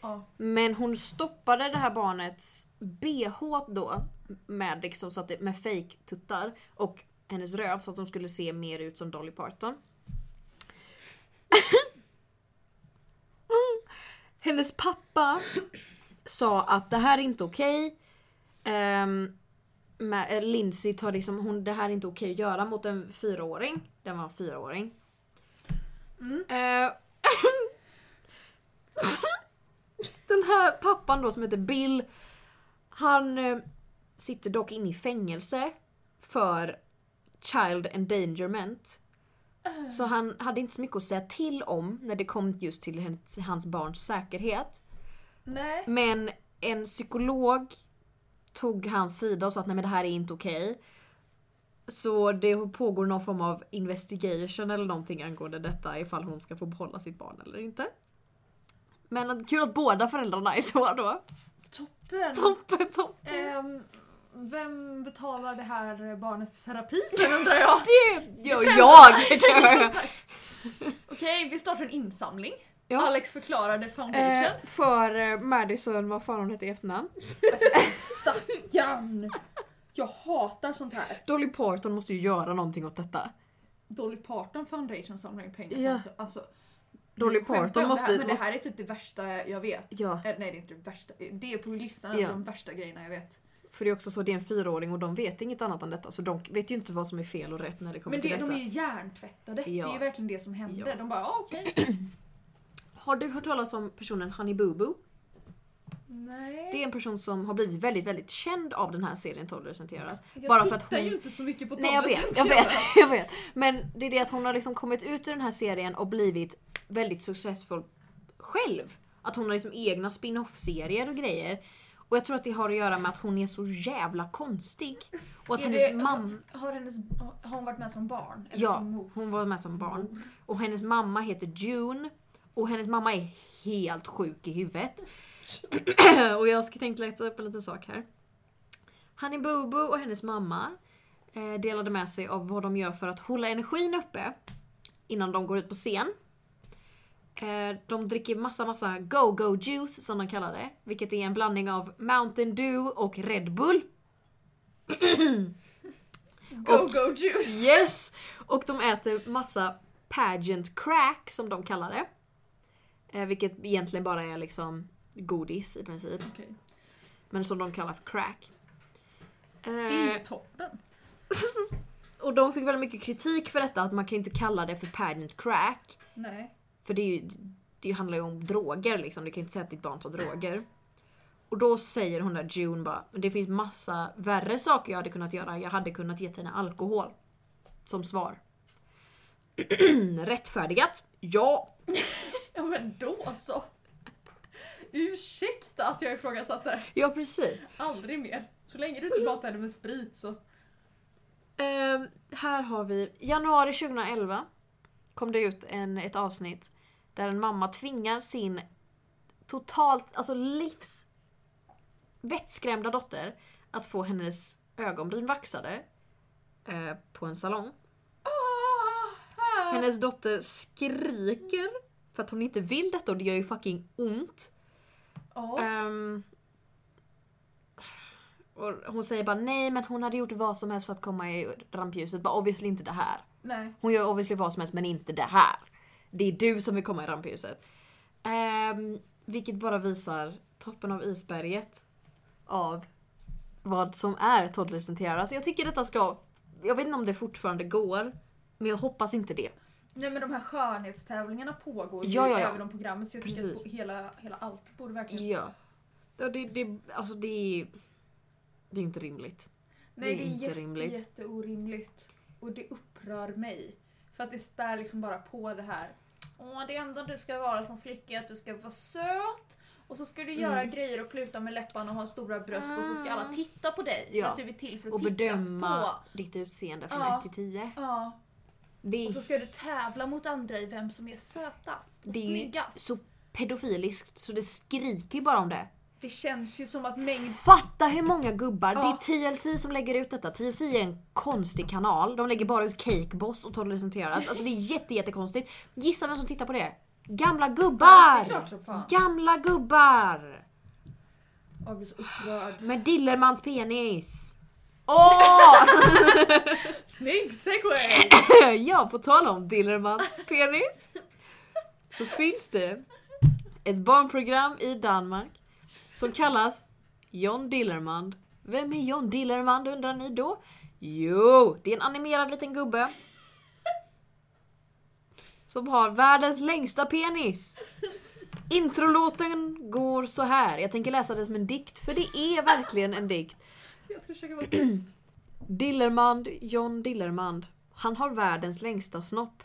Speaker 2: Ja.
Speaker 1: Men hon stoppade det här barnets bh då med, liksom, så att det, med fake tuttar och hennes röv så att hon skulle se mer ut som Dolly Parton. hennes pappa sa att det här är inte okej. Ehm, med- eh, Lindsay tar liksom, hon, det här är inte okej att göra mot en fyraåring. Den var en fyraåring. Eh, den här pappan då som heter Bill. Han eh, sitter dock inne i fängelse för child endangerment. Så han hade inte så mycket att säga till om när det kom just till hen- hans barns säkerhet.
Speaker 2: Nej.
Speaker 1: Men en psykolog tog hans sida och sa att nej men det här är inte okej. Så det pågår någon form av investigation eller någonting angående detta ifall hon ska få behålla sitt barn eller inte. Men att- kul att båda föräldrarna är så då.
Speaker 2: Toppen.
Speaker 1: Toppen, toppen.
Speaker 2: Ehm, vem betalar det här barnets terapi sen undrar jag?
Speaker 1: Det gör jag!
Speaker 2: Okej, vi startar en insamling.
Speaker 1: Ja.
Speaker 2: Alex förklarade
Speaker 1: Eh,
Speaker 2: foundation.
Speaker 1: för eh, Madison, vad fan hon hette i efternamn.
Speaker 2: Stackarn! Jag hatar sånt här.
Speaker 1: Dolly Parton måste ju göra någonting åt detta.
Speaker 2: Dolly Parton Foundation samlar in pengar.
Speaker 1: Ja.
Speaker 2: Alltså, alltså,
Speaker 1: Dolly
Speaker 2: nu skämtar jag
Speaker 1: Parton
Speaker 2: om Det
Speaker 1: måste-
Speaker 2: här, men det här är typ det värsta jag vet.
Speaker 1: Ja.
Speaker 2: Eh, nej det är inte det värsta. Det är på listan över
Speaker 1: Ja.
Speaker 2: de värsta grejerna jag vet.
Speaker 1: För det är också så, det är en fyraåring och de vet inget annat än detta. Så de vet ju inte vad som är fel och rätt när det kommer
Speaker 2: Men
Speaker 1: till
Speaker 2: det,
Speaker 1: detta.
Speaker 2: de är ju hjärntvättade. Det är
Speaker 1: Ja.
Speaker 2: ju verkligen det som hände.
Speaker 1: Ja.
Speaker 2: De bara ah, okej.
Speaker 1: Har du hört talas om personen Honey Boo Boo?
Speaker 2: Nej.
Speaker 1: Det är en person som har blivit väldigt, väldigt känd av den här serien Todd recenteras.
Speaker 2: jag
Speaker 1: Bara för
Speaker 2: tittar
Speaker 1: att hon...
Speaker 2: ju inte så mycket på
Speaker 1: Nej jag
Speaker 2: Toddlers
Speaker 1: vet, jag
Speaker 2: TV.
Speaker 1: vet, jag vet. Men det är det att hon har liksom kommit ut i den här serien och blivit väldigt successful själv. Att hon har liksom egna spin-off-serier och grejer. Och jag tror att det har att göra med att hon är så jävla konstig. Och att
Speaker 2: Är
Speaker 1: hennes
Speaker 2: det-
Speaker 1: mamma...
Speaker 2: Har, hennes, har hon varit med som barn? Eller
Speaker 1: Ja,
Speaker 2: som mor?
Speaker 1: hon var med som barn. Och hennes mamma heter June. Och hennes mamma är helt sjuk i huvudet. och jag ska tänkte läsa upp en liten sak här. Honey Boo Boo och hennes mamma eh, delade med sig av vad de gör för att hålla energin uppe innan de går ut på scen. Eh, de dricker massa, massa go-go juice som de kallar det. Vilket är en blandning av Mountain Dew och Red Bull.
Speaker 2: Go go juice!
Speaker 1: Yes! Och de äter massa pageant crack som de kallar det. Eh, vilket egentligen bara är liksom godis i princip.
Speaker 2: Okej.
Speaker 1: Men som de kallar för crack. Eh,
Speaker 2: Det är ju toppen.
Speaker 1: och de fick väldigt mycket kritik för detta att man kan ju inte kalla det för pageant crack.
Speaker 2: Nej.
Speaker 1: För det, är ju, det handlar ju om droger liksom. Du kan ju inte säga att ditt barn tar droger. Och då säger hon där June bara, "Men det finns massa värre saker jag hade kunnat göra. Jag hade kunnat ge henne alkohol. Som svar. Rättfärdigat? Ja!
Speaker 2: Ja men då så. Ursäkta att jag ifrågasatte.
Speaker 1: Ja precis.
Speaker 2: Aldrig mer. Så länge du
Speaker 1: Mm.
Speaker 2: inte matar henne med sprit så.
Speaker 1: Ehm, här har vi, januari 2011 kom det ut en, ett avsnitt där en mamma tvingar sin totalt, alltså livs vettskrämda dotter att få hennes ögonbryn vaxade eh, på en salong. Ah. Hennes dotter skriker för att hon inte vill detta och det gör ju fucking ont.
Speaker 2: Ja.
Speaker 1: Ehm, Och hon säger bara nej men hon hade gjort vad som helst för att komma i rampljuset. Bara obviously inte det här.
Speaker 2: Nej.
Speaker 1: Hon gör obviously vad som helst men inte det här. Det är du som vill komma i rampljuset. Ehm, vilket bara visar toppen av isberget av vad som är Toddlers and Tiaras. Jag tycker detta ska... Jag vet inte om det fortfarande går, men jag hoppas inte det.
Speaker 2: Nej men de här skönhetstävlingarna pågår ju
Speaker 1: Ja, ja, ja.
Speaker 2: även om programmet så jag tycker
Speaker 1: Precis.
Speaker 2: att hela, hela allt borde verkligen...
Speaker 1: Ja. ja det, det, alltså det är... Det är inte rimligt. det
Speaker 2: Nej det
Speaker 1: är
Speaker 2: är
Speaker 1: inte
Speaker 2: jätte,
Speaker 1: rimligt.
Speaker 2: jätteorimligt. Och det upprör mig. För att det spär liksom bara på det här. Åh det enda du ska vara som flicka är att du ska vara söt. Och så ska du göra
Speaker 1: Mm.
Speaker 2: grejer och pluta med läpparna och ha stora bröst och så ska alla titta på dig. För
Speaker 1: Ah. Ja.
Speaker 2: att du är till för att
Speaker 1: Och
Speaker 2: tittas
Speaker 1: bedöma
Speaker 2: på.
Speaker 1: ditt utseende från
Speaker 2: Ja.
Speaker 1: 1 till 10.
Speaker 2: Ja.
Speaker 1: Det
Speaker 2: Och så
Speaker 1: är,
Speaker 2: ska du tävla mot andra i vem som är sötast och
Speaker 1: det är ju
Speaker 2: snyggast.
Speaker 1: så pedofiliskt så det skriker bara om det.
Speaker 2: Det känns ju som att mängd
Speaker 1: Fatta hur många gubbar,
Speaker 2: Ja.
Speaker 1: det är TLC som lägger ut detta. TLC är en konstig kanal, de lägger bara ut Cakeboss och Toddlers and Tiaras. Alltså det är jätte, jättekonstigt. Gissa vem som tittar på det? Gamla
Speaker 2: Ja,
Speaker 1: gubbar!
Speaker 2: det är klart som fan.
Speaker 1: Gamla gubbar!
Speaker 2: Jag blir så upprörd.
Speaker 1: Med Dillermans penis. Åh!
Speaker 2: Snygg segway!
Speaker 1: ja, på tal om Dillermans penis. Så finns det ett barnprogram i Danmark som kallas John Dillermand. Vem är John Dillermand undrar ni då? Jo, det är en animerad liten gubbe. Som har världens längsta penis. Introlåten går så här. Jag tänker läsa det som en dikt, för det är verkligen en dikt.
Speaker 2: Jag ska försöka vara tyst.
Speaker 1: Dillermand, John Dillermand. Han har världens längsta snopp.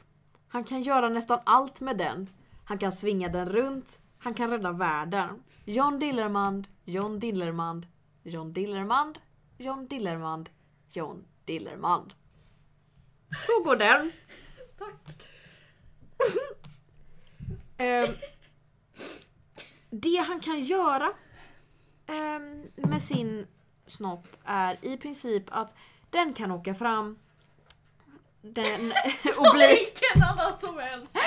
Speaker 1: Han kan göra nästan allt med den. Han kan svinga den runt. Han kan rädda världen. John Dillermand, John Dillermand, John Dillermand, John Dillermand, John Dillermand. Så går den.
Speaker 2: Tack.
Speaker 1: Ehm, det han kan göra ehm, med sin snopp är i princip att den kan åka fram den, och
Speaker 2: Bli.
Speaker 1: bli...
Speaker 2: Vilken annan som helst.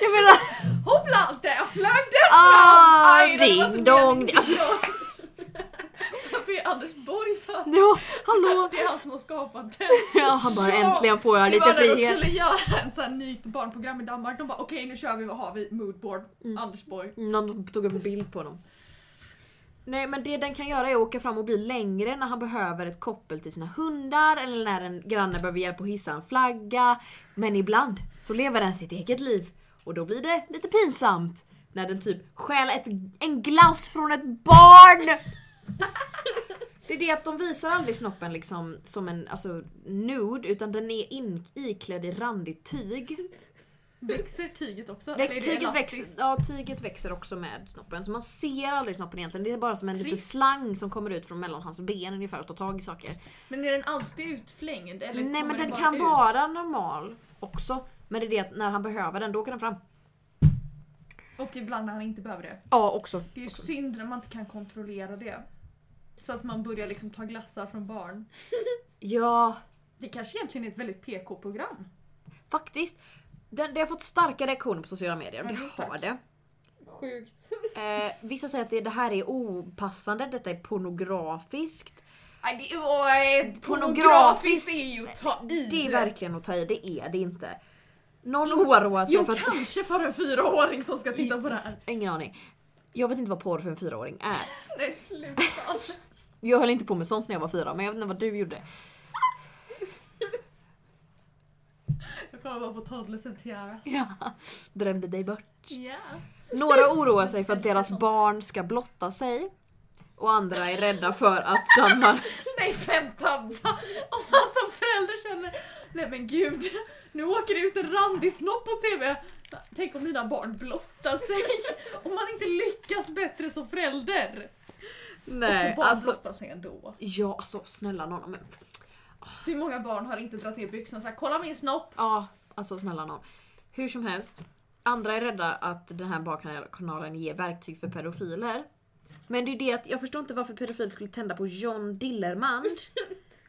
Speaker 1: Jag menar...
Speaker 2: Hoppla! Där flög den
Speaker 1: Ah,
Speaker 2: Aj, det var inte
Speaker 1: ding dong!
Speaker 2: meningen.
Speaker 1: Alltså,
Speaker 2: Ja. Varför är Anders Borg fan?
Speaker 1: ja, hallå!
Speaker 2: Det är han som har skapat den.
Speaker 1: Ja, han bara
Speaker 2: Ja,
Speaker 1: äntligen får jag
Speaker 2: Det
Speaker 1: lite
Speaker 2: var när de
Speaker 1: frihet.
Speaker 2: skulle göra en sån här nytt barnprogram i Danmark. De bara okej nu kör vi, vad har vi? Moodboard.
Speaker 1: Mm.
Speaker 2: Anders Borg.
Speaker 1: Någon tog en bild på honom. Nej men det den kan göra är att åka fram och bli längre när han behöver ett koppel till sina hundar eller när en granne behöver hjälp att hissa en flagga. Men ibland så lever den sitt eget liv och då blir det lite pinsamt när den typ stjäl ett, en glass från ett barn! Det är det att de visar aldrig snoppen liksom som en alltså, nude utan den är in, iklädd i randigt tyg.
Speaker 2: Växer tyget också? Eller är det
Speaker 1: Väx, tyget,
Speaker 2: elastiskt?
Speaker 1: växer, ja, tyget växer också med snoppen, så man ser aldrig snoppen egentligen. Det är bara som en liten slang som kommer ut från mellan hans ben ungefär och tar tag i saker.
Speaker 2: Men är den alltid utflängd? Eller
Speaker 1: Nej
Speaker 2: kommer
Speaker 1: men den
Speaker 2: bara
Speaker 1: kan
Speaker 2: ut?
Speaker 1: vara normal också. Men det är det att när han behöver den, då åker den fram.
Speaker 2: Och ibland när han inte behöver det.
Speaker 1: Ja, också.
Speaker 2: Det är ju synd när man inte kan kontrollera det. Så att man börjar liksom ta glassar från barn.
Speaker 1: Ja,
Speaker 2: Det kanske egentligen är ett väldigt PK-program.
Speaker 1: faktiskt. Den, det har fått starka reaktioner på sociala medier.
Speaker 2: Ja,
Speaker 1: Det har
Speaker 2: tack.
Speaker 1: det.
Speaker 4: Sjukt.
Speaker 1: Eh, vissa säger att det, det här är opassande, detta är pornografiskt.
Speaker 2: Nej, det var ett
Speaker 1: Pornografiskt.
Speaker 2: är ju att ta i.
Speaker 1: Det är verkligen att ta i, det är det inte. Någon oroar sig
Speaker 2: Jo,
Speaker 1: för att...
Speaker 2: kanske för en fyraåring som ska titta på det här.
Speaker 1: Ingen aning. Jag vet inte vad porr för en fyraåring är.
Speaker 2: Nej, sluta.
Speaker 1: Jag höll inte på med sånt när jag var fyra, men jag vet inte vad du gjorde.
Speaker 2: Jag kollar bara på Toddlers and Tiaras.
Speaker 1: Ja. Drömde dig bort.
Speaker 2: Ja.
Speaker 1: Några oroar sig för att deras barn ska blotta sig. Och andra är rädda för att Danmark...
Speaker 2: Nej, vänta! Va? Om man som förälder känner, nej men gud, nu åker det ut en randig snopp på TV. Tänk om mina barn blottar sig. Om man inte lyckas bättre som förälder. och så barn
Speaker 1: alltså-
Speaker 2: blottar sig ändå.
Speaker 1: Ja, alltså snälla någon. Men,
Speaker 2: Hur många barn har inte dragit ner byxorna och sagt “kolla min snopp”?
Speaker 1: ja, alltså snälla någon. Hur som helst. Andra är rädda att den här barnkanalen ger verktyg för pedofiler. Men det är ju det att jag förstår inte varför pedofiler skulle tända på John Dillermand.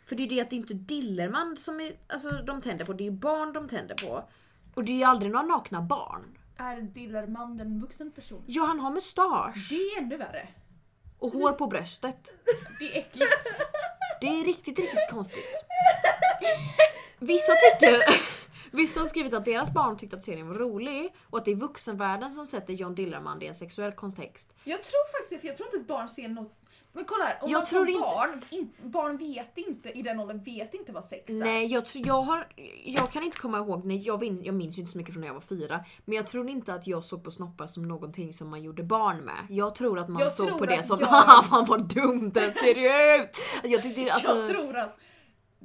Speaker 1: För det är ju det att det är inte Dillermand som är, alltså, de tänder på, det är ju barn de tänder på. Och det är ju aldrig några nakna barn.
Speaker 2: Är Dillerman en vuxen person?
Speaker 1: Ja, han har mustasch.
Speaker 2: Det är ännu värre.
Speaker 1: och hår på bröstet.
Speaker 2: Det är äckligt.
Speaker 1: Det är riktigt, riktigt konstigt. Vissa tycker... Vissa har skrivit att deras barn tyckte att serien var rolig och att det är vuxenvärlden som sätter John Dillerman i en sexuell kontext.
Speaker 2: Jag tror faktiskt det, för jag tror inte ett barn ser något. Men kolla här, om
Speaker 1: Jag
Speaker 2: man
Speaker 1: tror
Speaker 2: som
Speaker 1: inte-
Speaker 2: barn, in, barn vet inte i den åldern, vet inte vad sex är.
Speaker 1: Nej, jag, tror- jag, har, jag kan inte komma ihåg, nej, jag, vin, jag minns ju inte så mycket från när jag var fyra, men jag tror inte att jag såg på snoppar som någonting som man gjorde barn med. Jag tror att man
Speaker 2: Jag
Speaker 1: såg
Speaker 2: tror
Speaker 1: på det
Speaker 2: att
Speaker 1: som
Speaker 2: jag-
Speaker 1: haha fan vad dumt den ser ut! Jag tyckte alltså...
Speaker 2: Jag tror att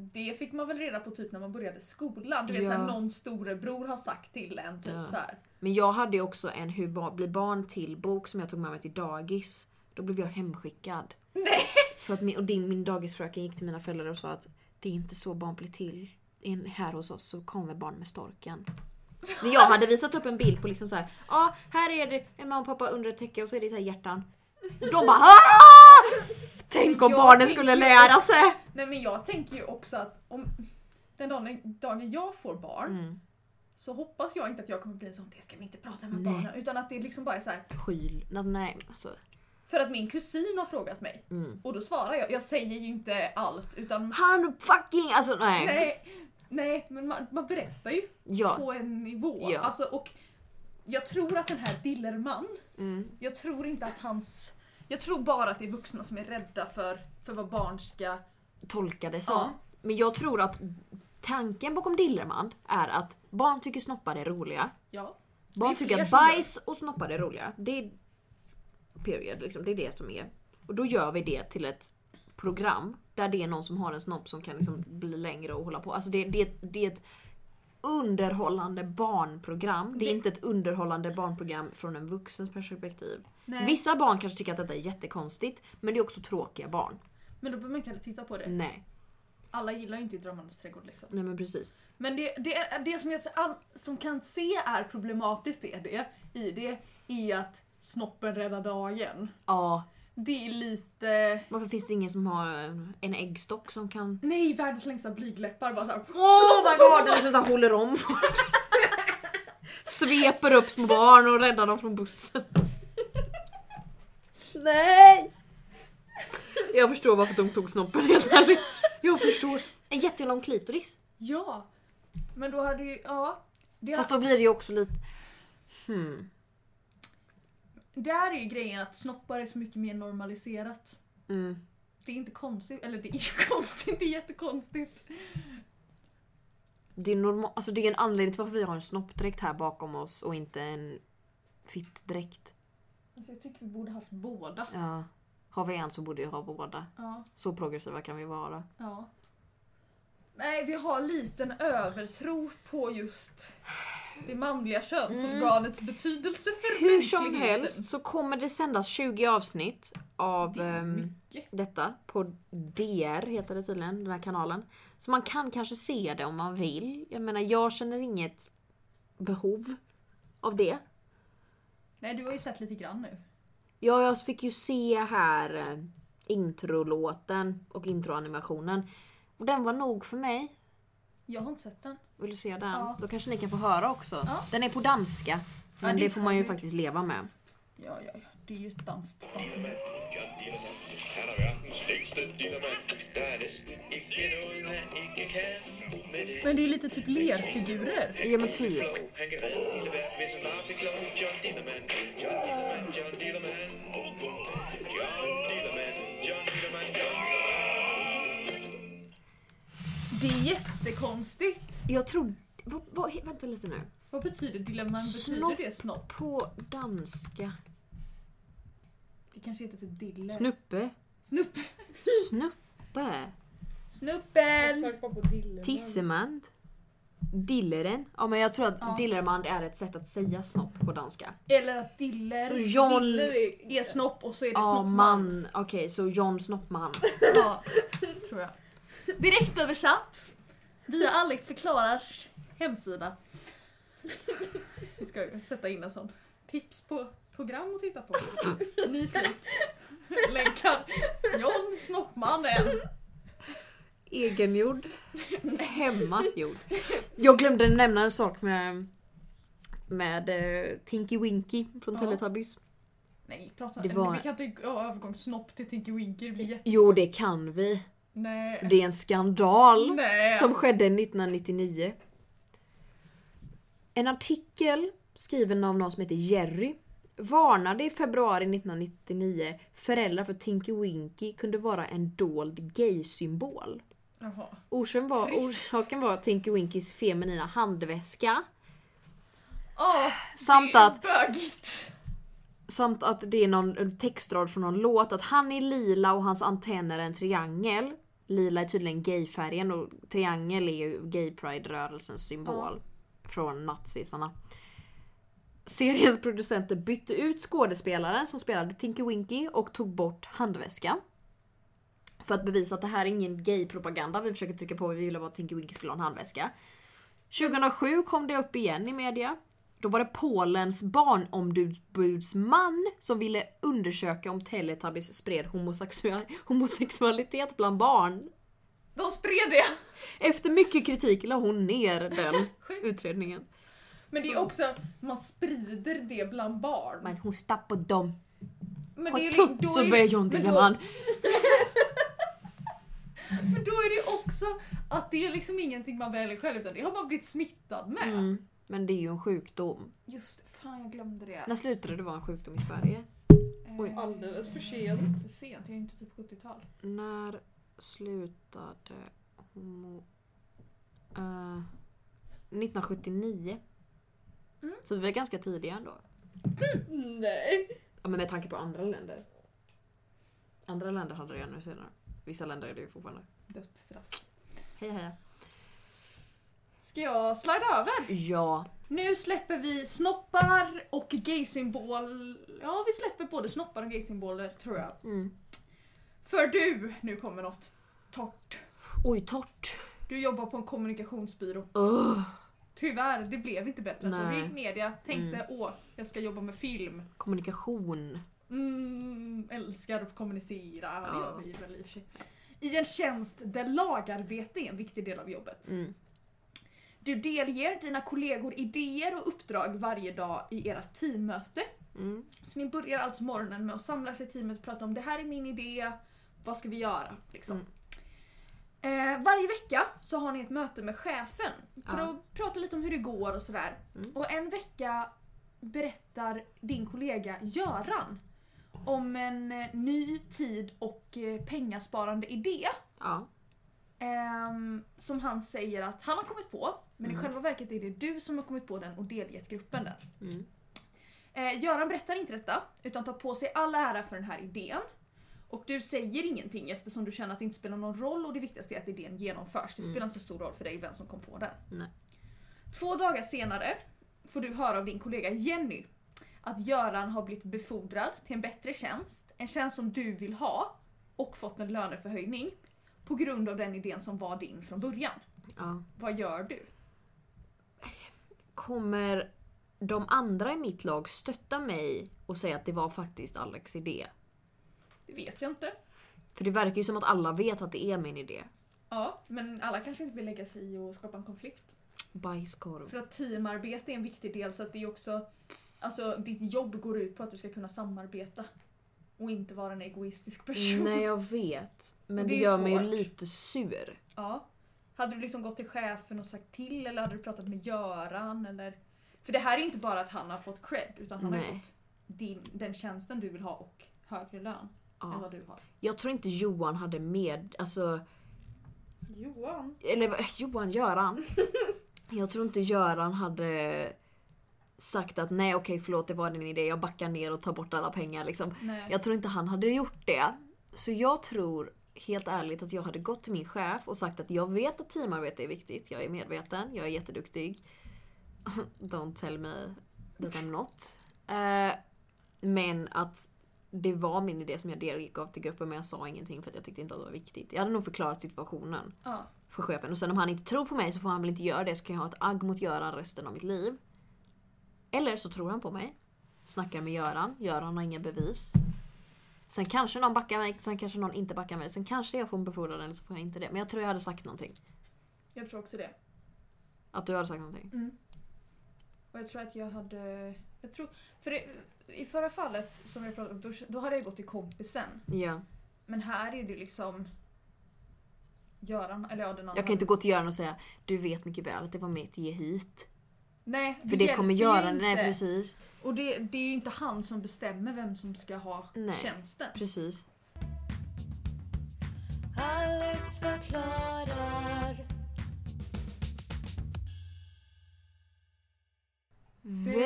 Speaker 2: det fick man väl reda på typ när man började skolan. Du vet
Speaker 1: Ja.
Speaker 2: såhär någon storebror har sagt till en typ
Speaker 1: Ja.
Speaker 2: såhär.
Speaker 1: Men jag hade ju också en hur ba- bli barn till bok som jag tog med mig till dagis. Då blev jag hemskickad.
Speaker 2: Nej.
Speaker 1: För att min, och din, min dagisfröken gick till mina föräldrar och sa att det är inte så barn blir till. In, här hos oss så kommer barn med storken. När jag hade visat upp en bild på liksom så här, ja ah, här är det en mamma och pappa under ett täcke och så är det så här hjärtan. Och de bara "Ah!" Tänk om
Speaker 2: Jag
Speaker 1: barnen
Speaker 2: tänker-
Speaker 1: skulle lära sig!
Speaker 2: Nej men jag tänker ju också att om den dagen, dagen jag får barn
Speaker 1: Mm.
Speaker 2: så hoppas jag inte att jag kommer bli en sån det ska vi inte prata med
Speaker 1: Nej.
Speaker 2: barnen utan att det liksom bara är såhär
Speaker 1: Skyl, alltså, nej alltså.
Speaker 2: för att min kusin har frågat mig
Speaker 1: Mm.
Speaker 2: och då svarar jag. Jag säger ju inte allt utan
Speaker 1: Han fucking, alltså nej.
Speaker 2: nej, nej men man, man berättar ju
Speaker 1: Ja.
Speaker 2: på en nivå.
Speaker 1: Ja.
Speaker 2: Alltså, och jag tror att den här Dillerman,
Speaker 1: Mm.
Speaker 2: jag tror inte att hans... Jag tror bara att det är vuxna som är rädda för, för vad barn ska...
Speaker 1: tolka det som.
Speaker 2: Ja.
Speaker 1: Men jag tror att tanken bakom Dillerman är att barn tycker snoppar är roliga.
Speaker 2: Ja.
Speaker 1: Barn
Speaker 2: Det är
Speaker 1: tycker
Speaker 2: fler
Speaker 1: att
Speaker 2: som gör.
Speaker 1: bajs och snoppar är roliga. Det är period, liksom. det är det som är. Och då gör vi det till ett program där det är någon som har en snopp som kan liksom bli längre och hålla på. Alltså det, det, det är ett underhållande barnprogram. Det är
Speaker 2: Det-
Speaker 1: inte ett underhållande barnprogram från en vuxens perspektiv.
Speaker 2: Nej.
Speaker 1: Vissa barn kanske tycker att detta är jättekonstigt, men det är också tråkiga barn.
Speaker 2: Men då behöver man inte heller titta på det.
Speaker 1: Nej,
Speaker 2: Alla gillar ju inte Drömmarnas trädgård liksom.
Speaker 1: nej men precis.
Speaker 2: Men det, det, är, det som jag all, som kan se är problematiskt är det, i det är att snoppen räddar dagen.
Speaker 1: Ja,
Speaker 2: Det är lite...
Speaker 1: Varför finns det ingen som har en äggstock som kan...
Speaker 2: Nej, världens längsta blygdläppar bara såhär...
Speaker 1: Oh my god! Eller som så här håller om folk. Sveper upp små barn och räddar dem från bussen. Nej! Jag förstår varför de tog snoppen helt ärligt. Jag förstår. En jättelång klitoris.
Speaker 2: Ja! Men då hade ju... Ja. Det
Speaker 1: Fast då blir det ju också lite... Hmm.
Speaker 2: Där är ju grejen att snoppar är så mycket mer normaliserat.
Speaker 1: Mm.
Speaker 2: Det är inte konstigt, eller det är ju konstigt, det är jättekonstigt.
Speaker 1: Det är normal... alltså, det är en anledning till varför vi har en snoppdräkt här bakom oss och inte en fittdräkt.
Speaker 2: Alltså jag tycker vi borde haft båda.
Speaker 1: Ja. Har vi en så borde vi ha båda.
Speaker 2: Ja,
Speaker 1: Så progressiva kan vi vara.
Speaker 2: ja. Nej, vi har liten övertro på just det manliga könsorganets betydelse för
Speaker 1: Mm. Hur som
Speaker 2: mänskligheten.
Speaker 1: helst så kommer det sändas 20 avsnitt av
Speaker 2: Det är
Speaker 1: ehm,
Speaker 2: mycket.
Speaker 1: detta på DR heter det tydligen, den här kanalen. Så man kan kanske se det om man vill. Jag menar jag känner inget behov av det.
Speaker 2: Nej, du har ju sett lite grann nu.
Speaker 1: Ja, jag fick ju se här eh, introlåten och introanimationen. Och den var nog för mig.
Speaker 2: Jag har inte sett den.
Speaker 1: Vill du se den?
Speaker 2: Ja.
Speaker 1: Då kanske ni kan få höra också.
Speaker 2: Ja.
Speaker 1: Den är på danska. Men
Speaker 2: det
Speaker 1: det
Speaker 2: är
Speaker 1: får man ju
Speaker 2: trevligt.
Speaker 1: faktiskt leva med.
Speaker 2: Ja, ja, ja. Det är ju ett danskt
Speaker 8: Han har verdens længste dillermand. Der er næsten ikke noget, han ikke kan. Men det
Speaker 2: Men det är lite typ lerfigurer.
Speaker 1: Ja men typ.
Speaker 8: flow, han kan redde hele verden, hvis han bare fik lov. John Dillermand, John Dillermand, John Dillermand. Oh, oh. John Dillermand, John Dillermand, John
Speaker 2: Det är jättekonstigt.
Speaker 1: Jag tror... Vad, vad, vänta lite nu.
Speaker 2: Vad betyder dilemman? Betyder
Speaker 1: Snopp.
Speaker 2: det snopp?
Speaker 1: På danska.
Speaker 2: Det kanske heter typ dille.
Speaker 1: Snuppe.
Speaker 2: Snupp.
Speaker 1: Snuppe.
Speaker 2: Snuppen!
Speaker 4: Sök bara på Dillerman.
Speaker 1: Tissemand. Dilleren. Ja men jag tror att
Speaker 2: Ja.
Speaker 1: dillermand är ett sätt att säga snopp på danska.
Speaker 2: Eller att diller
Speaker 1: Så John...
Speaker 4: Diller är-
Speaker 2: är snopp och så är det
Speaker 1: Ja,
Speaker 2: snoppman.
Speaker 1: man. Okej, så John Snoppman.
Speaker 2: Ja, tror jag. Direkt översatt via Alex förklarar hemsida. Vi ska ju sätta in en sån tips på program att titta på. Ny flik. Länkar John Snoppmannen.
Speaker 1: Egengjord. Hemmagjord. Jag glömde nämna en sak med, med eh, Tinky Winky från
Speaker 2: Ja.
Speaker 1: Teletubbies.
Speaker 2: Nej, prata
Speaker 1: Det var-
Speaker 2: Vi kan inte ha övergång snopp till Tinky Winky. Det blir jätte...
Speaker 1: Jo, det kan vi.
Speaker 2: Nej.
Speaker 1: Det är en skandal
Speaker 2: Nej.
Speaker 1: som skedde 1999. En artikel skriven av någon som heter Jerry varnade i februari 1999 föräldrar för Tinky Winky kunde vara en dold gay-symbol.
Speaker 2: Jaha.
Speaker 1: Orsaken var,
Speaker 2: Trist.
Speaker 1: orsaken var Tinky Winkys feminina handväska
Speaker 2: Åh,
Speaker 1: samt
Speaker 2: det är
Speaker 1: att
Speaker 2: bögigt.
Speaker 1: Samt att det är någon textrad från någon låt att han är lila och hans antenner är en triangel. Lila är tydligen gayfärgen och triangel är ju gay pride-rörelsens symbol. Från nazisarna. Seriens producenter bytte ut skådespelaren som spelade Tinky Winky och tog bort handväskan. För att bevisa att det här är ingen gay-propaganda vi försöker trycka på, vi ville bara att Tinky Winky skulle ha en handväska. 2007 kom det upp igen i media. Då var det Polens barnombudsman som ville undersöka om Teletubbies spred homosexua- homosexualitet bland barn.
Speaker 2: De spred det.
Speaker 1: Efter mycket kritik la hon ner den
Speaker 2: Sjukt.
Speaker 1: utredningen.
Speaker 2: Men det är också, man sprider det bland barn.
Speaker 1: Men hon stappar dem.
Speaker 2: Men
Speaker 1: Har
Speaker 2: det är, liksom-
Speaker 1: tupp
Speaker 2: då
Speaker 1: så
Speaker 2: är-
Speaker 1: blir jag inte
Speaker 2: men
Speaker 1: när
Speaker 2: då,
Speaker 1: man...
Speaker 2: men då är det också att det är liksom ingenting man väljer själv utan det har man blivit smittad med.
Speaker 1: Mm, men det är ju en sjukdom.
Speaker 2: Just det, fan jag glömde det.
Speaker 1: När slutade det vara en sjukdom i Sverige? oj.
Speaker 2: Eh,
Speaker 4: Alldeles för sent.
Speaker 2: så sent, det är ju inte typ 70-tal.
Speaker 1: När slutade homo... Eh, 1979. Så vi var ganska tidiga ändå. Mm,
Speaker 4: Nej.
Speaker 1: Ja, men med tanke på andra länder. Andra länder hade det ännu senare. Vissa länder är det ju fortfarande.
Speaker 2: Dödsstraff.
Speaker 1: Hej hej.
Speaker 2: Ska jag slida över?
Speaker 1: Ja.
Speaker 2: Nu släpper vi snoppar och gayssymbol. Ja, vi släpper både snoppar och gaysymboler tror jag.
Speaker 1: Mm.
Speaker 2: För du, nu kommer något torrt.
Speaker 1: Oj, torrt.
Speaker 2: Du jobbar på en kommunikationsbyrå.
Speaker 1: Ugh.
Speaker 2: Tyvärr, det blev inte bättre. Så
Speaker 1: Nej. Mm.
Speaker 2: vi gick media, tänkte åh, jag ska jobba med film.
Speaker 1: Kommunikation.
Speaker 2: Mm, älskar att kommunicera, det
Speaker 1: Ja.
Speaker 2: gör vi väl i och för sig. I en tjänst där lagarbete är en viktig del av jobbet.
Speaker 1: Mm.
Speaker 2: Du delger dina kollegor idéer och uppdrag varje dag i era teammöte.
Speaker 1: Mm.
Speaker 2: Så ni börjar alltså morgonen med att samlas i teamet och prata om det här är min idé, vad ska vi göra? Liksom. Eh, varje vecka så har ni ett möte med chefen för
Speaker 1: Ja.
Speaker 2: att prata lite om hur det går och sådär. Och en vecka berättar din kollega Göran om en eh, ny tid och eh, pengasparande idé
Speaker 1: Ja.
Speaker 2: ehm, som han säger att han har kommit på men i själva verket är det du som har kommit på den och delgett gruppen den.
Speaker 1: Mm.
Speaker 2: Eh, Göran berättar inte detta utan tar på sig all ära för den här idén. Och du säger ingenting eftersom du känner att det inte spelar någon roll och det viktigaste är att idén genomförs. Det spelar inte så stor roll för dig vem som kom på den.
Speaker 1: Mm. Nej.
Speaker 2: Två dagar senare får du höra av din kollega Jenny att Göran har blivit befordrad till en bättre tjänst, en tjänst som du vill ha och fått en löneförhöjning på grund av den idén som var din från början.
Speaker 1: ja.
Speaker 2: Vad gör du?
Speaker 1: Kommer de andra i mitt lag stötta mig och säga att det var faktiskt Alex idé?
Speaker 2: Det vet jag inte.
Speaker 1: För det verkar ju som att alla vet att det är min idé.
Speaker 2: Ja, men alla kanske inte vill lägga sig i och skapa en konflikt.
Speaker 1: Bajskorv.
Speaker 2: För att teamarbete är en viktig del så att det är också Alltså ditt jobb går ut på att du ska kunna samarbeta och inte vara en egoistisk person.
Speaker 1: Nej jag vet. Men
Speaker 2: Det
Speaker 1: det,
Speaker 2: är
Speaker 1: gör mig ju
Speaker 2: svårt.
Speaker 1: lite sur.
Speaker 2: Ja. Hade du liksom gått till chefen och sagt till eller hade du pratat med Göran eller? För det här är inte bara att han har fått cred utan han har ju
Speaker 1: Nej.
Speaker 2: fått din, den tjänsten du vill ha och högre lön än
Speaker 1: Ja.
Speaker 2: vad du har.
Speaker 1: Jag tror inte Johan hade med... Alltså,
Speaker 4: Johan.
Speaker 1: Eller vad- Johan, Göran. Jag tror inte Göran hade sagt att nej okej förlåt det var din idé, jag backar ner och tar bort alla pengar liksom.
Speaker 2: Nej.
Speaker 1: Jag tror inte han hade gjort det. Så jag tror helt ärligt att jag hade gått till min chef och sagt att jag vet att teamarbete är viktigt, jag är medveten, jag är jätteduktig. Don't tell me that I'm not. Eh, men att det var min idé som jag delgav till gruppen men jag sa ingenting för att jag tyckte inte att det var viktigt. Jag hade nog förklarat situationen
Speaker 2: Ja.
Speaker 1: för chefen. Och sen om han inte tror på mig så får han väl inte göra det så kan jag ha ett agg mot Göran resten av mitt liv. Eller så tror han på mig. Snackar med Göran. Göran har inga bevis. Sen kanske någon backar mig, sen kanske någon inte backar mig. Sen kanske jag får en befordran eller så får jag inte det. Men jag tror jag hade sagt någonting.
Speaker 2: Jag tror också det. Mm.
Speaker 1: Att du hade sagt någonting.
Speaker 2: Och jag tror att jag hade... Jag tror, för det, i förra fallet som jag pratade om, då, då hade jag gått till kompisen.
Speaker 1: Ja.
Speaker 2: Men här är det liksom Göran, eller ja den andra.
Speaker 1: Jag kan inte gå till Göran och säga du vet mycket väl att det var mitt ge hit.
Speaker 2: Nej,
Speaker 1: För det kommer
Speaker 2: hjälper ju
Speaker 1: Göran, nej
Speaker 2: inte.
Speaker 1: precis.
Speaker 2: Och det, det är ju inte han som bestämmer vem som ska ha
Speaker 1: Nej.
Speaker 2: tjänsten.
Speaker 1: Precis.
Speaker 3: Alex förklarar.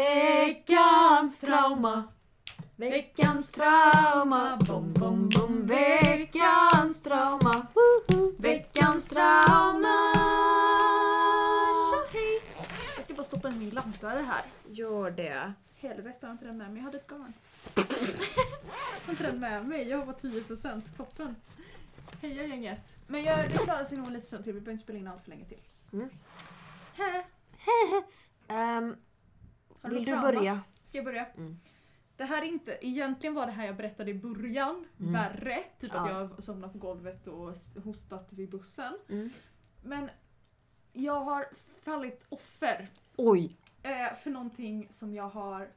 Speaker 1: Veckans trauma. Veckans trauma. Bom, bom, bom. Veckans trauma. Woho. Veckans trauma.
Speaker 2: Jag ska bara stoppa en ny laddare här.
Speaker 1: Gör det.
Speaker 2: Helvete, jag har inte den med mig. Jag hade ett garn. jag har inte den med mig. Jag har bara 10%. Toppen. Heja gänget. Men jag, det klarar sig nog en liten stund till. Vi behöver inte spela in allt för länge till.
Speaker 1: Mm.
Speaker 2: Hä?
Speaker 1: Ehm,
Speaker 2: Har
Speaker 1: vill
Speaker 2: något
Speaker 1: du
Speaker 2: trauma?
Speaker 1: börja?
Speaker 2: Ska jag börja?
Speaker 1: Mm.
Speaker 2: Det här är inte, egentligen var det här jag berättade i början
Speaker 1: Mm.
Speaker 2: värre. Typ att
Speaker 1: Ja.
Speaker 2: jag har somnat på golvet och s- hostat vid bussen.
Speaker 1: Mm.
Speaker 2: Men jag har fallit offer
Speaker 1: Oj.
Speaker 2: eh, för någonting som jag har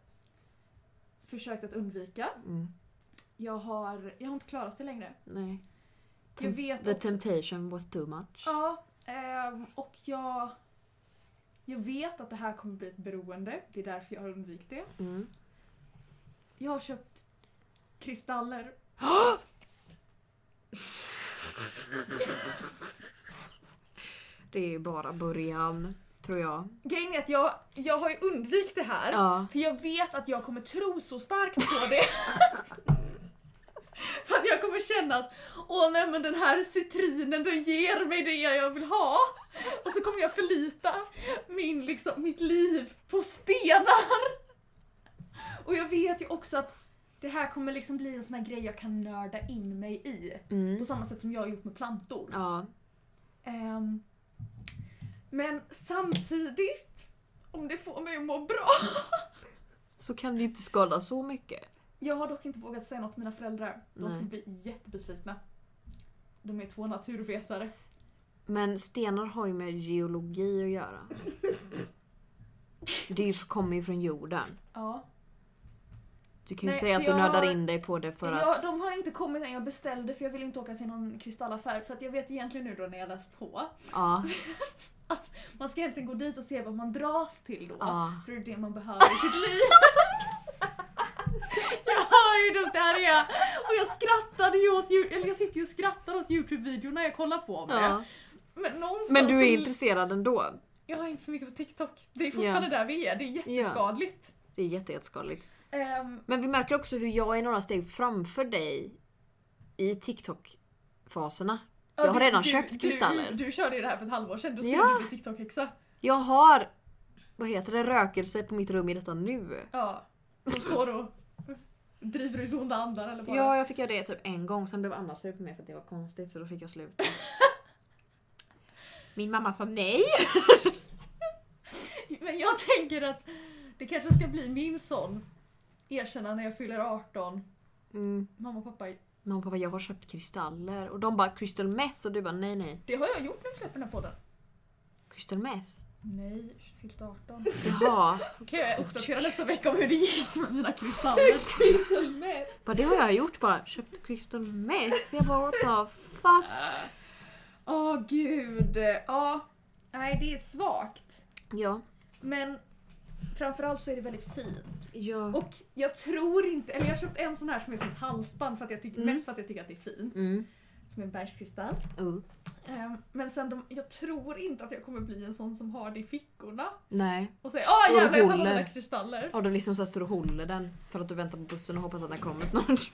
Speaker 2: försökt att undvika.
Speaker 1: Mm,
Speaker 2: Jag har, jag har inte klarat det längre.
Speaker 1: nej.
Speaker 2: Jag
Speaker 1: Tem-
Speaker 2: vet
Speaker 1: The
Speaker 2: också,
Speaker 1: temptation was too much.
Speaker 2: Ja, ehm, och jag... Jag vet att det här kommer bli ett beroende. Det är därför jag har undvikit det.
Speaker 1: Mm.
Speaker 2: Jag har köpt kristaller.
Speaker 1: Det är ju bara början, tror jag.
Speaker 2: Grejen är att jag, jag har ju undvikit det här.
Speaker 1: Ja.
Speaker 2: För jag vet att jag kommer tro så starkt på det. för att jag kommer känna att åh nej men den här citrinen den ger mig det jag vill ha. Och så kommer jag förlita min, liksom, mitt liv på stenar. Och jag vet ju också att det här kommer liksom bli en sån här grej jag kan nörda in mig i.
Speaker 1: Mm.
Speaker 2: På samma sätt som jag har gjort med plantor.
Speaker 1: Ja.
Speaker 2: Ehm, men samtidigt, om det får mig att må bra
Speaker 1: Så kan det inte skada så mycket.
Speaker 2: Jag har dock inte vågat säga något till mina föräldrar. De
Speaker 1: Nej.
Speaker 2: skulle bli jättebesvikna. De är två naturvetare.
Speaker 1: Men stenar har ju med geologi att göra. Det är ju- kommer ju från jorden.
Speaker 2: Ja.
Speaker 1: Du kan ju
Speaker 2: Nej,
Speaker 1: säga
Speaker 2: så
Speaker 1: att du
Speaker 2: jag
Speaker 1: nördar
Speaker 2: har-
Speaker 1: in dig på det för
Speaker 2: jag,
Speaker 1: att...
Speaker 2: De har inte kommit än. Jag beställde för jag vill inte åka till någon kristallaffär. För att jag vet egentligen nu då när jag läst på
Speaker 1: Ja,
Speaker 2: att man ska egentligen gå dit och se vad man dras till då.
Speaker 1: Ja.
Speaker 2: För det är det man behöver i sitt liv. jag hör ju hur dumt det här är. Och jag skrattade ju åt, ju- eller jag sitter ju och skrattar åt Youtube-videorna jag kollar på om
Speaker 1: ja.
Speaker 2: det. Men, någonstans
Speaker 1: Men du är
Speaker 2: så-
Speaker 1: intresserad ändå.
Speaker 2: Jag har inte för mycket på TikTok. Det är fortfarande där vi är. Det är jätteskadligt.
Speaker 1: Det är jätte- jätteskadligt.
Speaker 2: Ehm,
Speaker 1: Men vi märker också hur jag är några steg framför dig i TikTok-faserna. Jag
Speaker 2: ja,
Speaker 1: har
Speaker 2: du-
Speaker 1: redan
Speaker 2: du-
Speaker 1: köpt
Speaker 2: du-
Speaker 1: kristaller.
Speaker 2: Du, du körde ju det här för ett halvår sedan. Då skulle
Speaker 1: Ja.
Speaker 2: du bli TikTok-häxa.
Speaker 1: Jag har, vad heter det, rökelse på mitt rum i detta nu.
Speaker 2: Ja. Då står du och driver ut onda andar eller bara...
Speaker 1: Ja, jag fick göra det typ en gång, sen blev Anna sur på mig för att det var konstigt så då fick jag sluta. Min mamma sa nej.
Speaker 2: Men jag tänker att det kanske ska bli min son. Erkänna när jag fyller 18.
Speaker 1: Mm.
Speaker 2: Mamma och pappa,
Speaker 1: Men hon bara, jag har köpt kristaller. Och de bara, crystal meth? Och du bara, nej nej.
Speaker 2: det har jag gjort när vi släpper den här podden.
Speaker 1: Crystal meth?
Speaker 2: Nej, fyllt 18.
Speaker 1: Jaha.
Speaker 2: Då kan jag uppdatera nästa vecka om hur det gick med mina kristaller. Kristall med.
Speaker 1: bara, det har jag gjort bara. Köpt crystal meth? Jag bara, what the fuck?
Speaker 2: Åh gud. Ja. Nej, det är svagt.
Speaker 1: Ja.
Speaker 2: Men framförallt så är det väldigt fint.
Speaker 1: Ja.
Speaker 2: Och jag tror inte, eller jag har köpt en sån här som är som ett halsband för att jag tycker,
Speaker 1: Mm.
Speaker 2: mest för att jag tycker att det är fint.
Speaker 1: Mm.
Speaker 2: Som en bergskristall.
Speaker 1: Uh.
Speaker 2: Ehm, men sen de, jag tror inte att jag kommer bli en sån som har det i fickorna
Speaker 1: Nej.
Speaker 2: och säger åh
Speaker 1: Står och
Speaker 2: jävlar jag tar alla
Speaker 1: håller."
Speaker 2: mina kristaller.
Speaker 1: Och du liksom så här står och håller den för att du väntar på bussen och hoppas att den kommer snart.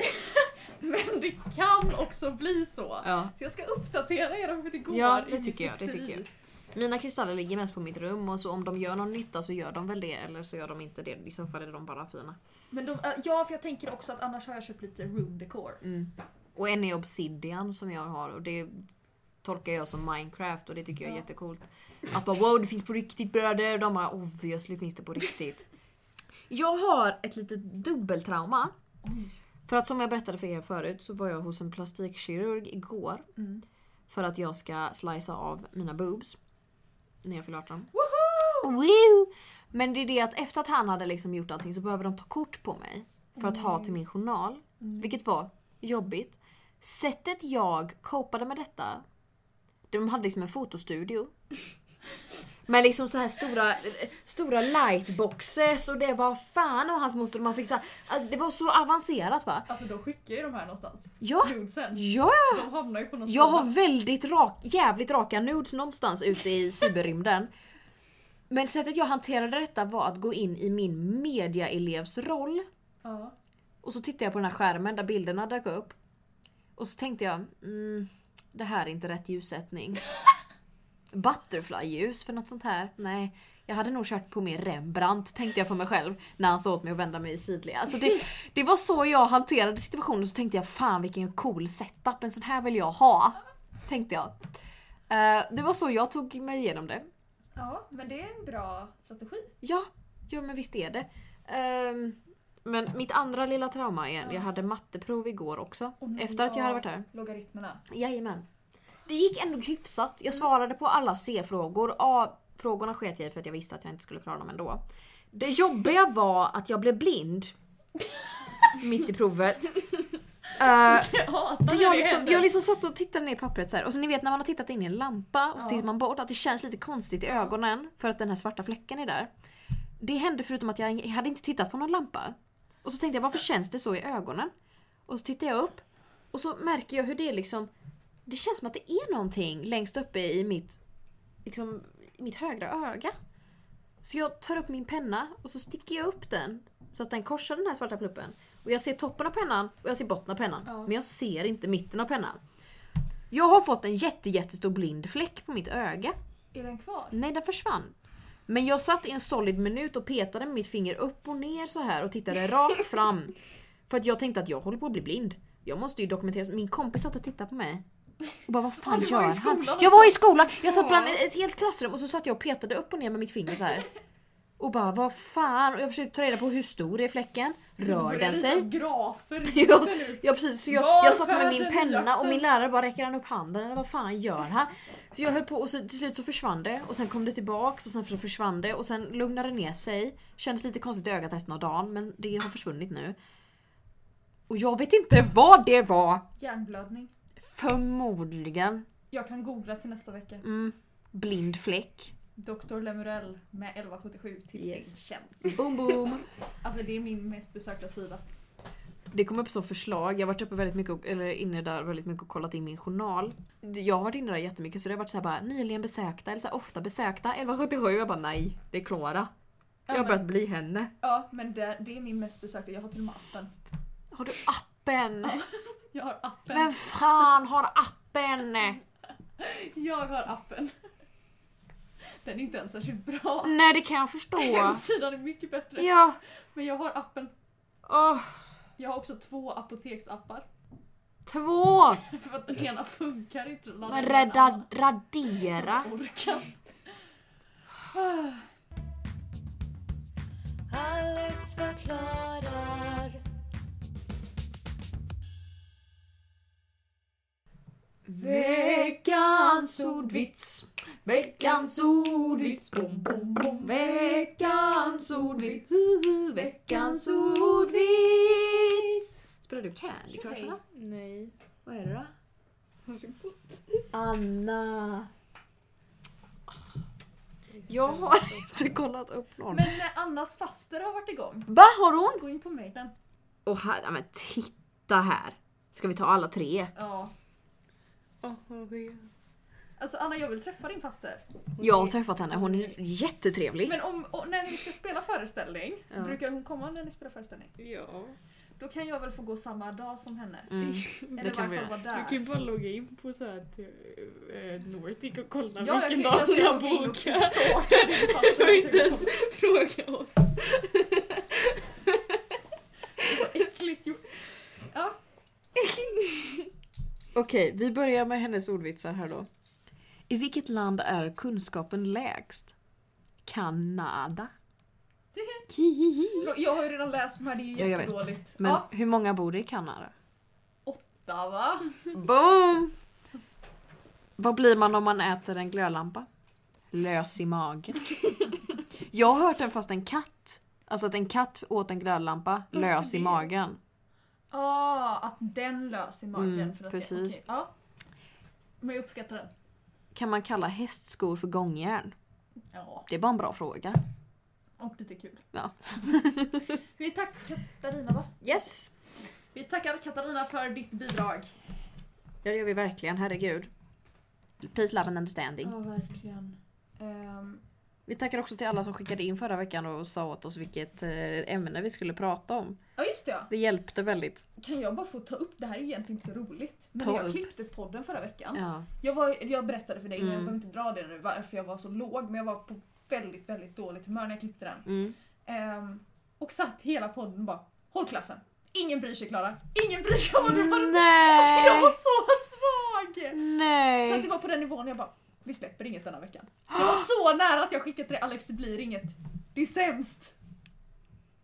Speaker 2: Men det kan också bli så.
Speaker 1: Ja.
Speaker 2: Så jag ska uppdatera er om hur det går.
Speaker 1: Ja, det
Speaker 2: i
Speaker 1: tycker jag, det
Speaker 2: mitt
Speaker 1: tycker jag.
Speaker 2: fixeri.
Speaker 1: Mina kristaller ligger mest på mitt rum och så om de gör någon nytta så gör de väl det eller så gör de inte det. I så fall är de bara fina.
Speaker 2: Men de, äh, ja, för jag tänker också att annars har jag köpt lite room decor.
Speaker 1: Och en är obsidian som jag har och det tolkar jag som Minecraft och det tycker jag är
Speaker 2: Ja.
Speaker 1: jättecoolt. Att bara wow det finns på riktigt bröder. De bara obviously finns det på riktigt. Jag har ett litet dubbeltrauma. För att som jag berättade för er förut så var jag hos en plastikkirurg igår.
Speaker 2: Mm.
Speaker 1: För att jag ska slicea av mina boobs. När jag fyller 18.
Speaker 2: Woho!
Speaker 1: Woo! Men det är det att efter att han hade liksom gjort allting så behöver de ta kort på mig. för att ha till min journal.
Speaker 2: Mm.
Speaker 1: Vilket var jobbigt. Sättet jag copade med detta. De hade liksom en fotostudio. Med liksom så här stora, stora lightboxes och det var fan och hans moster. Man fick så här, alltså det var så avancerat va.
Speaker 2: Alltså de skickar ju de här någonstans.
Speaker 1: Ja,
Speaker 2: Nudesen.
Speaker 1: ja
Speaker 2: De hamnar ju på någon
Speaker 1: jag
Speaker 2: skola.
Speaker 1: har väldigt rak, jävligt raka nudes någonstans ute i cyberrymden. Men sättet jag hanterade detta var att gå in i min mediaelevs roll.
Speaker 2: Ja.
Speaker 1: Och så tittade jag på den här skärmen där bilderna dök upp. Och så tänkte jag, mm, det här är inte rätt ljussättning. Butterfly-ljus för något sånt här? Nej. Jag hade nog kört på mer Rembrandt tänkte jag för mig själv när han sa åt mig att vända mig i sidled. Alltså det, det var så jag hanterade situationen så tänkte jag fan vilken cool setup, en sån här vill jag ha. Tänkte jag. Eh, det var så jag tog mig igenom det.
Speaker 2: ja, men det är en bra strategi.
Speaker 1: Ja, ja men visst är det. Ehm, men mitt andra lilla trauma igen, jag hade matteprov igår också.
Speaker 2: Åh, nej,
Speaker 1: efter att jag hade
Speaker 2: ja.
Speaker 1: varit här.
Speaker 2: Logaritmerna.
Speaker 1: Jajamän. Det gick ändå hyfsat. Jag svarade på alla C-frågor. A-frågorna sket jag i för att jag visste att jag inte skulle klara dem ändå. Det jobbiga var att jag blev blind. mitt i provet. Eh,
Speaker 2: Jag hatar
Speaker 1: det
Speaker 2: när
Speaker 1: jag,
Speaker 2: det
Speaker 1: liksom,
Speaker 2: händer.
Speaker 1: jag liksom satt och tittade ner i pappret så här. och så ni vet när man har tittat in i en lampa och så
Speaker 2: Ja.
Speaker 1: tittar man bort att det känns lite konstigt i ögonen för att den här svarta fläcken är där. Det hände förutom att jag jag hade inte tittat på någon lampa. Och så tänkte jag varför känns det så i ögonen? Och så tittar jag upp och så märker jag hur det liksom Det känns som att det är någonting längst uppe i mitt liksom, i mitt högra öga. Så jag tar upp min penna och så sticker jag upp den så att den korsar den här svarta pluppen. Och jag ser toppen av pennan och jag ser botten av pennan.
Speaker 2: Ja.
Speaker 1: Men jag ser inte mitten av pennan. Jag har fått en jätte, jättestor blind fläck på mitt öga.
Speaker 2: Är den kvar?
Speaker 1: Nej, den försvann. Men jag satt i en solid minut och petade med mitt finger upp och ner så här och tittade rakt fram. För att jag tänkte att jag håller på att bli blind. Jag måste ju dokumentera. Min kompis satt och tittade på mig. Och bara vad fan
Speaker 2: du
Speaker 1: gör
Speaker 2: var i
Speaker 1: han?
Speaker 2: skolan
Speaker 1: jag var i skolan! Jag satt bland
Speaker 4: Ja.
Speaker 1: ett helt klassrum och så satt jag och petade upp och ner med mitt finger så här. Och bara vad fan? Och jag försökte ta reda på hur stor är fläcken? Rör den sig?
Speaker 2: grafer
Speaker 1: Ja,
Speaker 2: ute nu.
Speaker 1: ja precis, så jag,
Speaker 2: Var
Speaker 1: jag satt med
Speaker 2: är
Speaker 1: min
Speaker 2: den
Speaker 1: penna och
Speaker 2: jaxen?
Speaker 1: min lärare bara räcker han upp handen eller vad fan gör han? Så jag höll på och så, till slut så försvann det och sen kom det tillbaks och sen så försvann det och sen lugnade det ner sig. Kändes lite konstigt i ögat resten av dagen men det har försvunnit nu. Och jag vet inte vad det var!
Speaker 2: Hjärnblödning.
Speaker 1: Förmodligen
Speaker 2: Jag kan googla till nästa vecka.
Speaker 1: Mm. blind fläck.
Speaker 2: Dr Lemurell med 1177 till din
Speaker 1: Yes.
Speaker 2: tjänst.
Speaker 1: Boom boom!
Speaker 2: Alltså det är min mest besökta sida.
Speaker 1: Det kom upp som förslag. Jag har varit uppe väldigt mycket och, eller inne där väldigt mycket och kollat in min journal. Jag har varit inne där jättemycket så det har varit så här bara nyligen besökta eller så här, ofta besökta 1177. Jag bara nej, det är Klara. Jag har
Speaker 2: men-
Speaker 1: börjat bli henne.
Speaker 2: Ja men det, det är min mest besökta, jag har till och med appen.
Speaker 1: Har du appen?
Speaker 2: Jag har appen.
Speaker 1: Vem fan har appen?
Speaker 2: Jag har appen. Den är inte ens särskilt bra.
Speaker 1: Nej det kan jag förstå.
Speaker 2: Hemsidan är mycket bättre.
Speaker 1: Ja.
Speaker 2: Men jag har appen.
Speaker 1: Åh,
Speaker 2: Jag har också två apoteksappar.
Speaker 1: två!
Speaker 2: För att den ena funkar inte. så laddar
Speaker 1: Men
Speaker 2: jag den
Speaker 1: rädda,
Speaker 2: andra.
Speaker 1: radera.
Speaker 2: Jag orkar inte.
Speaker 3: Alex förklarar.
Speaker 1: Veckans ordvits. Veckans ordvits. Bom, bom, bom. Veckans ordvits. Huhu, Veckans ordvits. Spelar du Candy Crush eller?
Speaker 4: Nej.
Speaker 1: Vad är det då? Anna. Jag har inte kollat upp någon.
Speaker 2: Men eh, Annas faster har varit igång.
Speaker 1: Va har hon?
Speaker 2: Gå in på mejlen.
Speaker 1: Och här, ja, men titta här. Ska vi ta alla tre?
Speaker 2: Ja. Alltså Anna jag vill träffa din faster.
Speaker 1: Jag har träffat henne, hon är jättetrevlig.
Speaker 2: Men om, och när ni ska spela föreställning,
Speaker 1: Ja.
Speaker 2: brukar hon komma när ni spelar föreställning?
Speaker 4: Ja.
Speaker 2: Då kan jag väl få gå samma dag som henne?
Speaker 1: Mm,
Speaker 2: Eller
Speaker 1: det kan vi
Speaker 2: varför
Speaker 1: göra.
Speaker 2: vara
Speaker 4: Du
Speaker 2: där?
Speaker 4: kan ju bara logga in på så här till, eh, Nordic och kolla
Speaker 2: Ja, jag
Speaker 4: vilken
Speaker 2: kan-
Speaker 4: dag
Speaker 2: jag
Speaker 4: hon
Speaker 2: ska
Speaker 4: har
Speaker 2: gå in och
Speaker 4: bokat.
Speaker 2: stalka din
Speaker 4: Du
Speaker 2: faster.
Speaker 4: behöver inte ens fråga oss.
Speaker 2: Vad äckligt gjort.
Speaker 1: Okej, vi börjar med hennes ordvitsar här då. I vilket land är kunskapen lägst? Kanada.
Speaker 2: Förlåt, Jag har ju redan läst de här, det är
Speaker 1: Ja,
Speaker 2: ju
Speaker 1: jag vet.
Speaker 2: jättedåligt.
Speaker 1: Men
Speaker 2: Ja,
Speaker 1: hur många bor i Kanada?
Speaker 2: åtta va?
Speaker 1: Boom! Vad blir man om man äter en glödlampa? Lös i magen. Jag har hört den fast en katt. Alltså att en katt åt en glödlampa lös i
Speaker 2: det?
Speaker 1: magen.
Speaker 2: Ah, att den lös i magen.
Speaker 1: Mm,
Speaker 2: för att Det,
Speaker 1: precis.
Speaker 2: okej, ja. Men jag uppskattar den.
Speaker 1: Kan man kalla hästskor för gångjärn?
Speaker 2: Ja,
Speaker 1: Det var en bra fråga.
Speaker 2: och lite kul.
Speaker 1: Ja.
Speaker 2: Vi tackar Katarina va?
Speaker 1: Yes!
Speaker 2: Vi tackar Katarina för ditt bidrag.
Speaker 1: Ja det gör vi verkligen, herregud. Peace, love and understanding.
Speaker 2: verkligen. Ehm,
Speaker 1: Vi tackar också till alla som skickade in förra veckan och sa åt oss vilket eh, ämne vi skulle prata om.
Speaker 2: Ja just det ja.
Speaker 1: Det hjälpte väldigt.
Speaker 2: Kan jag bara få ta upp, det här är egentligen inte så roligt. Men
Speaker 1: Ta
Speaker 2: när jag
Speaker 1: upp.
Speaker 2: klippte podden förra veckan.
Speaker 1: Ja.
Speaker 2: Jag, var, jag berättade för dig, men jag
Speaker 1: Mm.
Speaker 2: behöver inte dra det nu varför jag var så låg. Men jag var på väldigt, väldigt dåligt humör när jag klippte den.
Speaker 1: Mm.
Speaker 2: Ehm, och satt hela podden och bara Håll klaffen! Ingen bryr sig Klara! Ingen bryr sig om vad du har att säga! Alltså jag var
Speaker 1: Nej!
Speaker 2: så svag! Så att det
Speaker 1: Nej!
Speaker 2: var på den nivån jag bara Vi släpper inget denna veckan. Jag var så nära att jag skickade till dig Alex det blir inget. Det är sämst!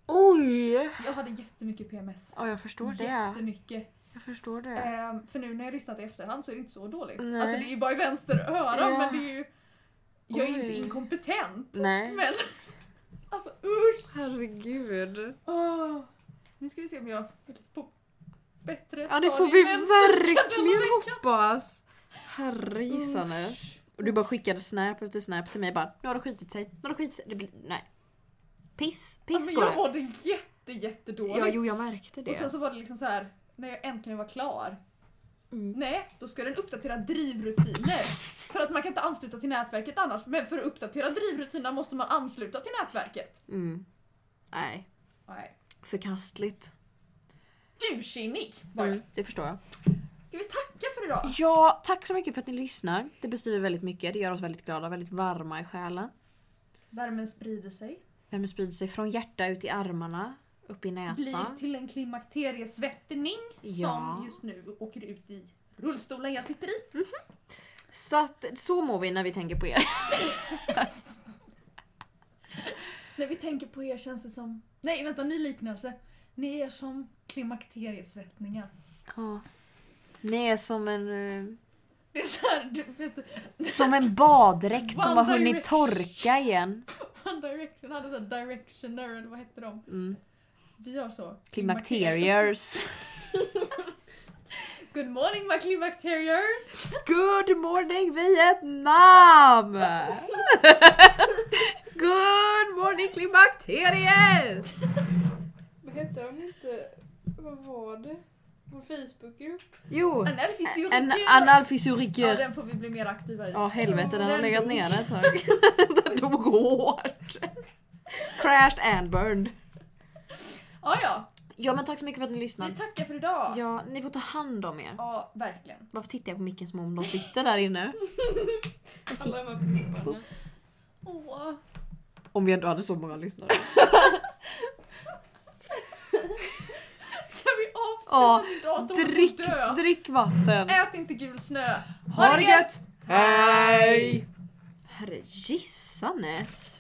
Speaker 1: Oj!
Speaker 2: Jag hade jättemycket PMS.
Speaker 1: Ja jag förstår det.
Speaker 2: Jättemycket.
Speaker 1: Jag förstår det.
Speaker 2: Ehm, för nu när jag lyssnat i efterhand så är det inte så dåligt.
Speaker 1: Nej.
Speaker 2: Alltså det är ju bara i vänster öra
Speaker 1: Ja.
Speaker 2: men det är ju... Jag är ju inte
Speaker 1: Oj.
Speaker 2: inkompetent.
Speaker 1: Nej.
Speaker 2: Men... Alltså usch!
Speaker 1: Herregud.
Speaker 2: Åh, Nu ska vi se om jag är lite på bättre
Speaker 1: Ja det får
Speaker 2: stadie
Speaker 1: vi
Speaker 2: än Sunkan denna
Speaker 1: verkligen
Speaker 2: veckan.
Speaker 1: hoppas. Herre gissanes. Och du bara skickade snap efter snap till mig bara nu har det skitit sig, nu har det skitit sig. Det blir... Nej. Piss,
Speaker 2: Ja,
Speaker 1: piss
Speaker 2: men
Speaker 1: går
Speaker 2: jag
Speaker 1: det.
Speaker 2: mådde jätte, jättedåligt.
Speaker 1: Ja jo jag märkte
Speaker 2: och sen
Speaker 1: det.
Speaker 2: så var det liksom så här när jag äntligen var klar.
Speaker 1: Mm.
Speaker 2: Nej, då ska den uppdatera drivrutiner. För att man kan inte ansluta till nätverket annars. Men för att uppdatera drivrutinerna måste man ansluta till nätverket.
Speaker 1: Mm. Nej,
Speaker 2: Nej.
Speaker 1: förkastligt.
Speaker 2: Ursinnig var jag.
Speaker 1: Mm, det förstår jag.
Speaker 2: Ska vi tacka för idag?
Speaker 1: Ja, tack så mycket för att ni lyssnar. Det betyder väldigt mycket. Det gör oss väldigt glada, väldigt varma i själen.
Speaker 2: Värmen sprider sig.
Speaker 1: Värmen sprider sig från hjärta ut i armarna, upp i
Speaker 2: Blir
Speaker 1: näsan.
Speaker 2: till en klimakteriesvettning
Speaker 1: Ja.
Speaker 2: som just nu åker ut i rullstolen jag sitter i.
Speaker 1: Så, att, så mår vi när vi tänker på er.
Speaker 2: När vi tänker på er känns det som... Nej vänta, ny liknelse. Ni är som klimakteriesvettningar.
Speaker 1: Ja. Ni är som en, eh,
Speaker 2: Det är såhär, du vet du,
Speaker 1: som en baddräkt som
Speaker 2: One
Speaker 1: har hunnit
Speaker 2: Direction.
Speaker 1: torka igen.
Speaker 2: One Direction hade såhär directioner eller vad hette de?
Speaker 1: Mm.
Speaker 2: Vi gör så.
Speaker 1: Klimakteriers.
Speaker 2: Good morning my klimakteriers!
Speaker 1: Good morning Vietnam! Good morning klimakteriet!
Speaker 4: Vad hette de inte? Vad var det? Vår Facebookgrupp?
Speaker 1: Jo! En
Speaker 2: Analfysiologi! Ja
Speaker 1: analfysioriker.
Speaker 2: den får vi bli mer aktiva i.
Speaker 1: Ja helvete den har
Speaker 2: Den
Speaker 1: legat
Speaker 2: dog.
Speaker 1: nere ett tag. Den dog hårt. Crashed and burned.
Speaker 2: Ja ja,
Speaker 1: Ja men tack så mycket för att ni lyssnade.
Speaker 2: vi tackar för idag! Ja,
Speaker 1: Ja, ni får ta hand om er.
Speaker 2: verkligen.
Speaker 1: Varför tittar jag på micken som om de sitter där inne?
Speaker 4: Alla de här grupperna.
Speaker 2: Åh.
Speaker 1: Om vi ändå hade så många lyssnare.
Speaker 2: Ska vi
Speaker 1: Ja,
Speaker 2: avsluta med datorn? och
Speaker 1: Drick,
Speaker 2: dö?
Speaker 1: drick vatten.
Speaker 2: Ät inte gul snö!
Speaker 1: Ha det gött! Hej! Herre gissanes.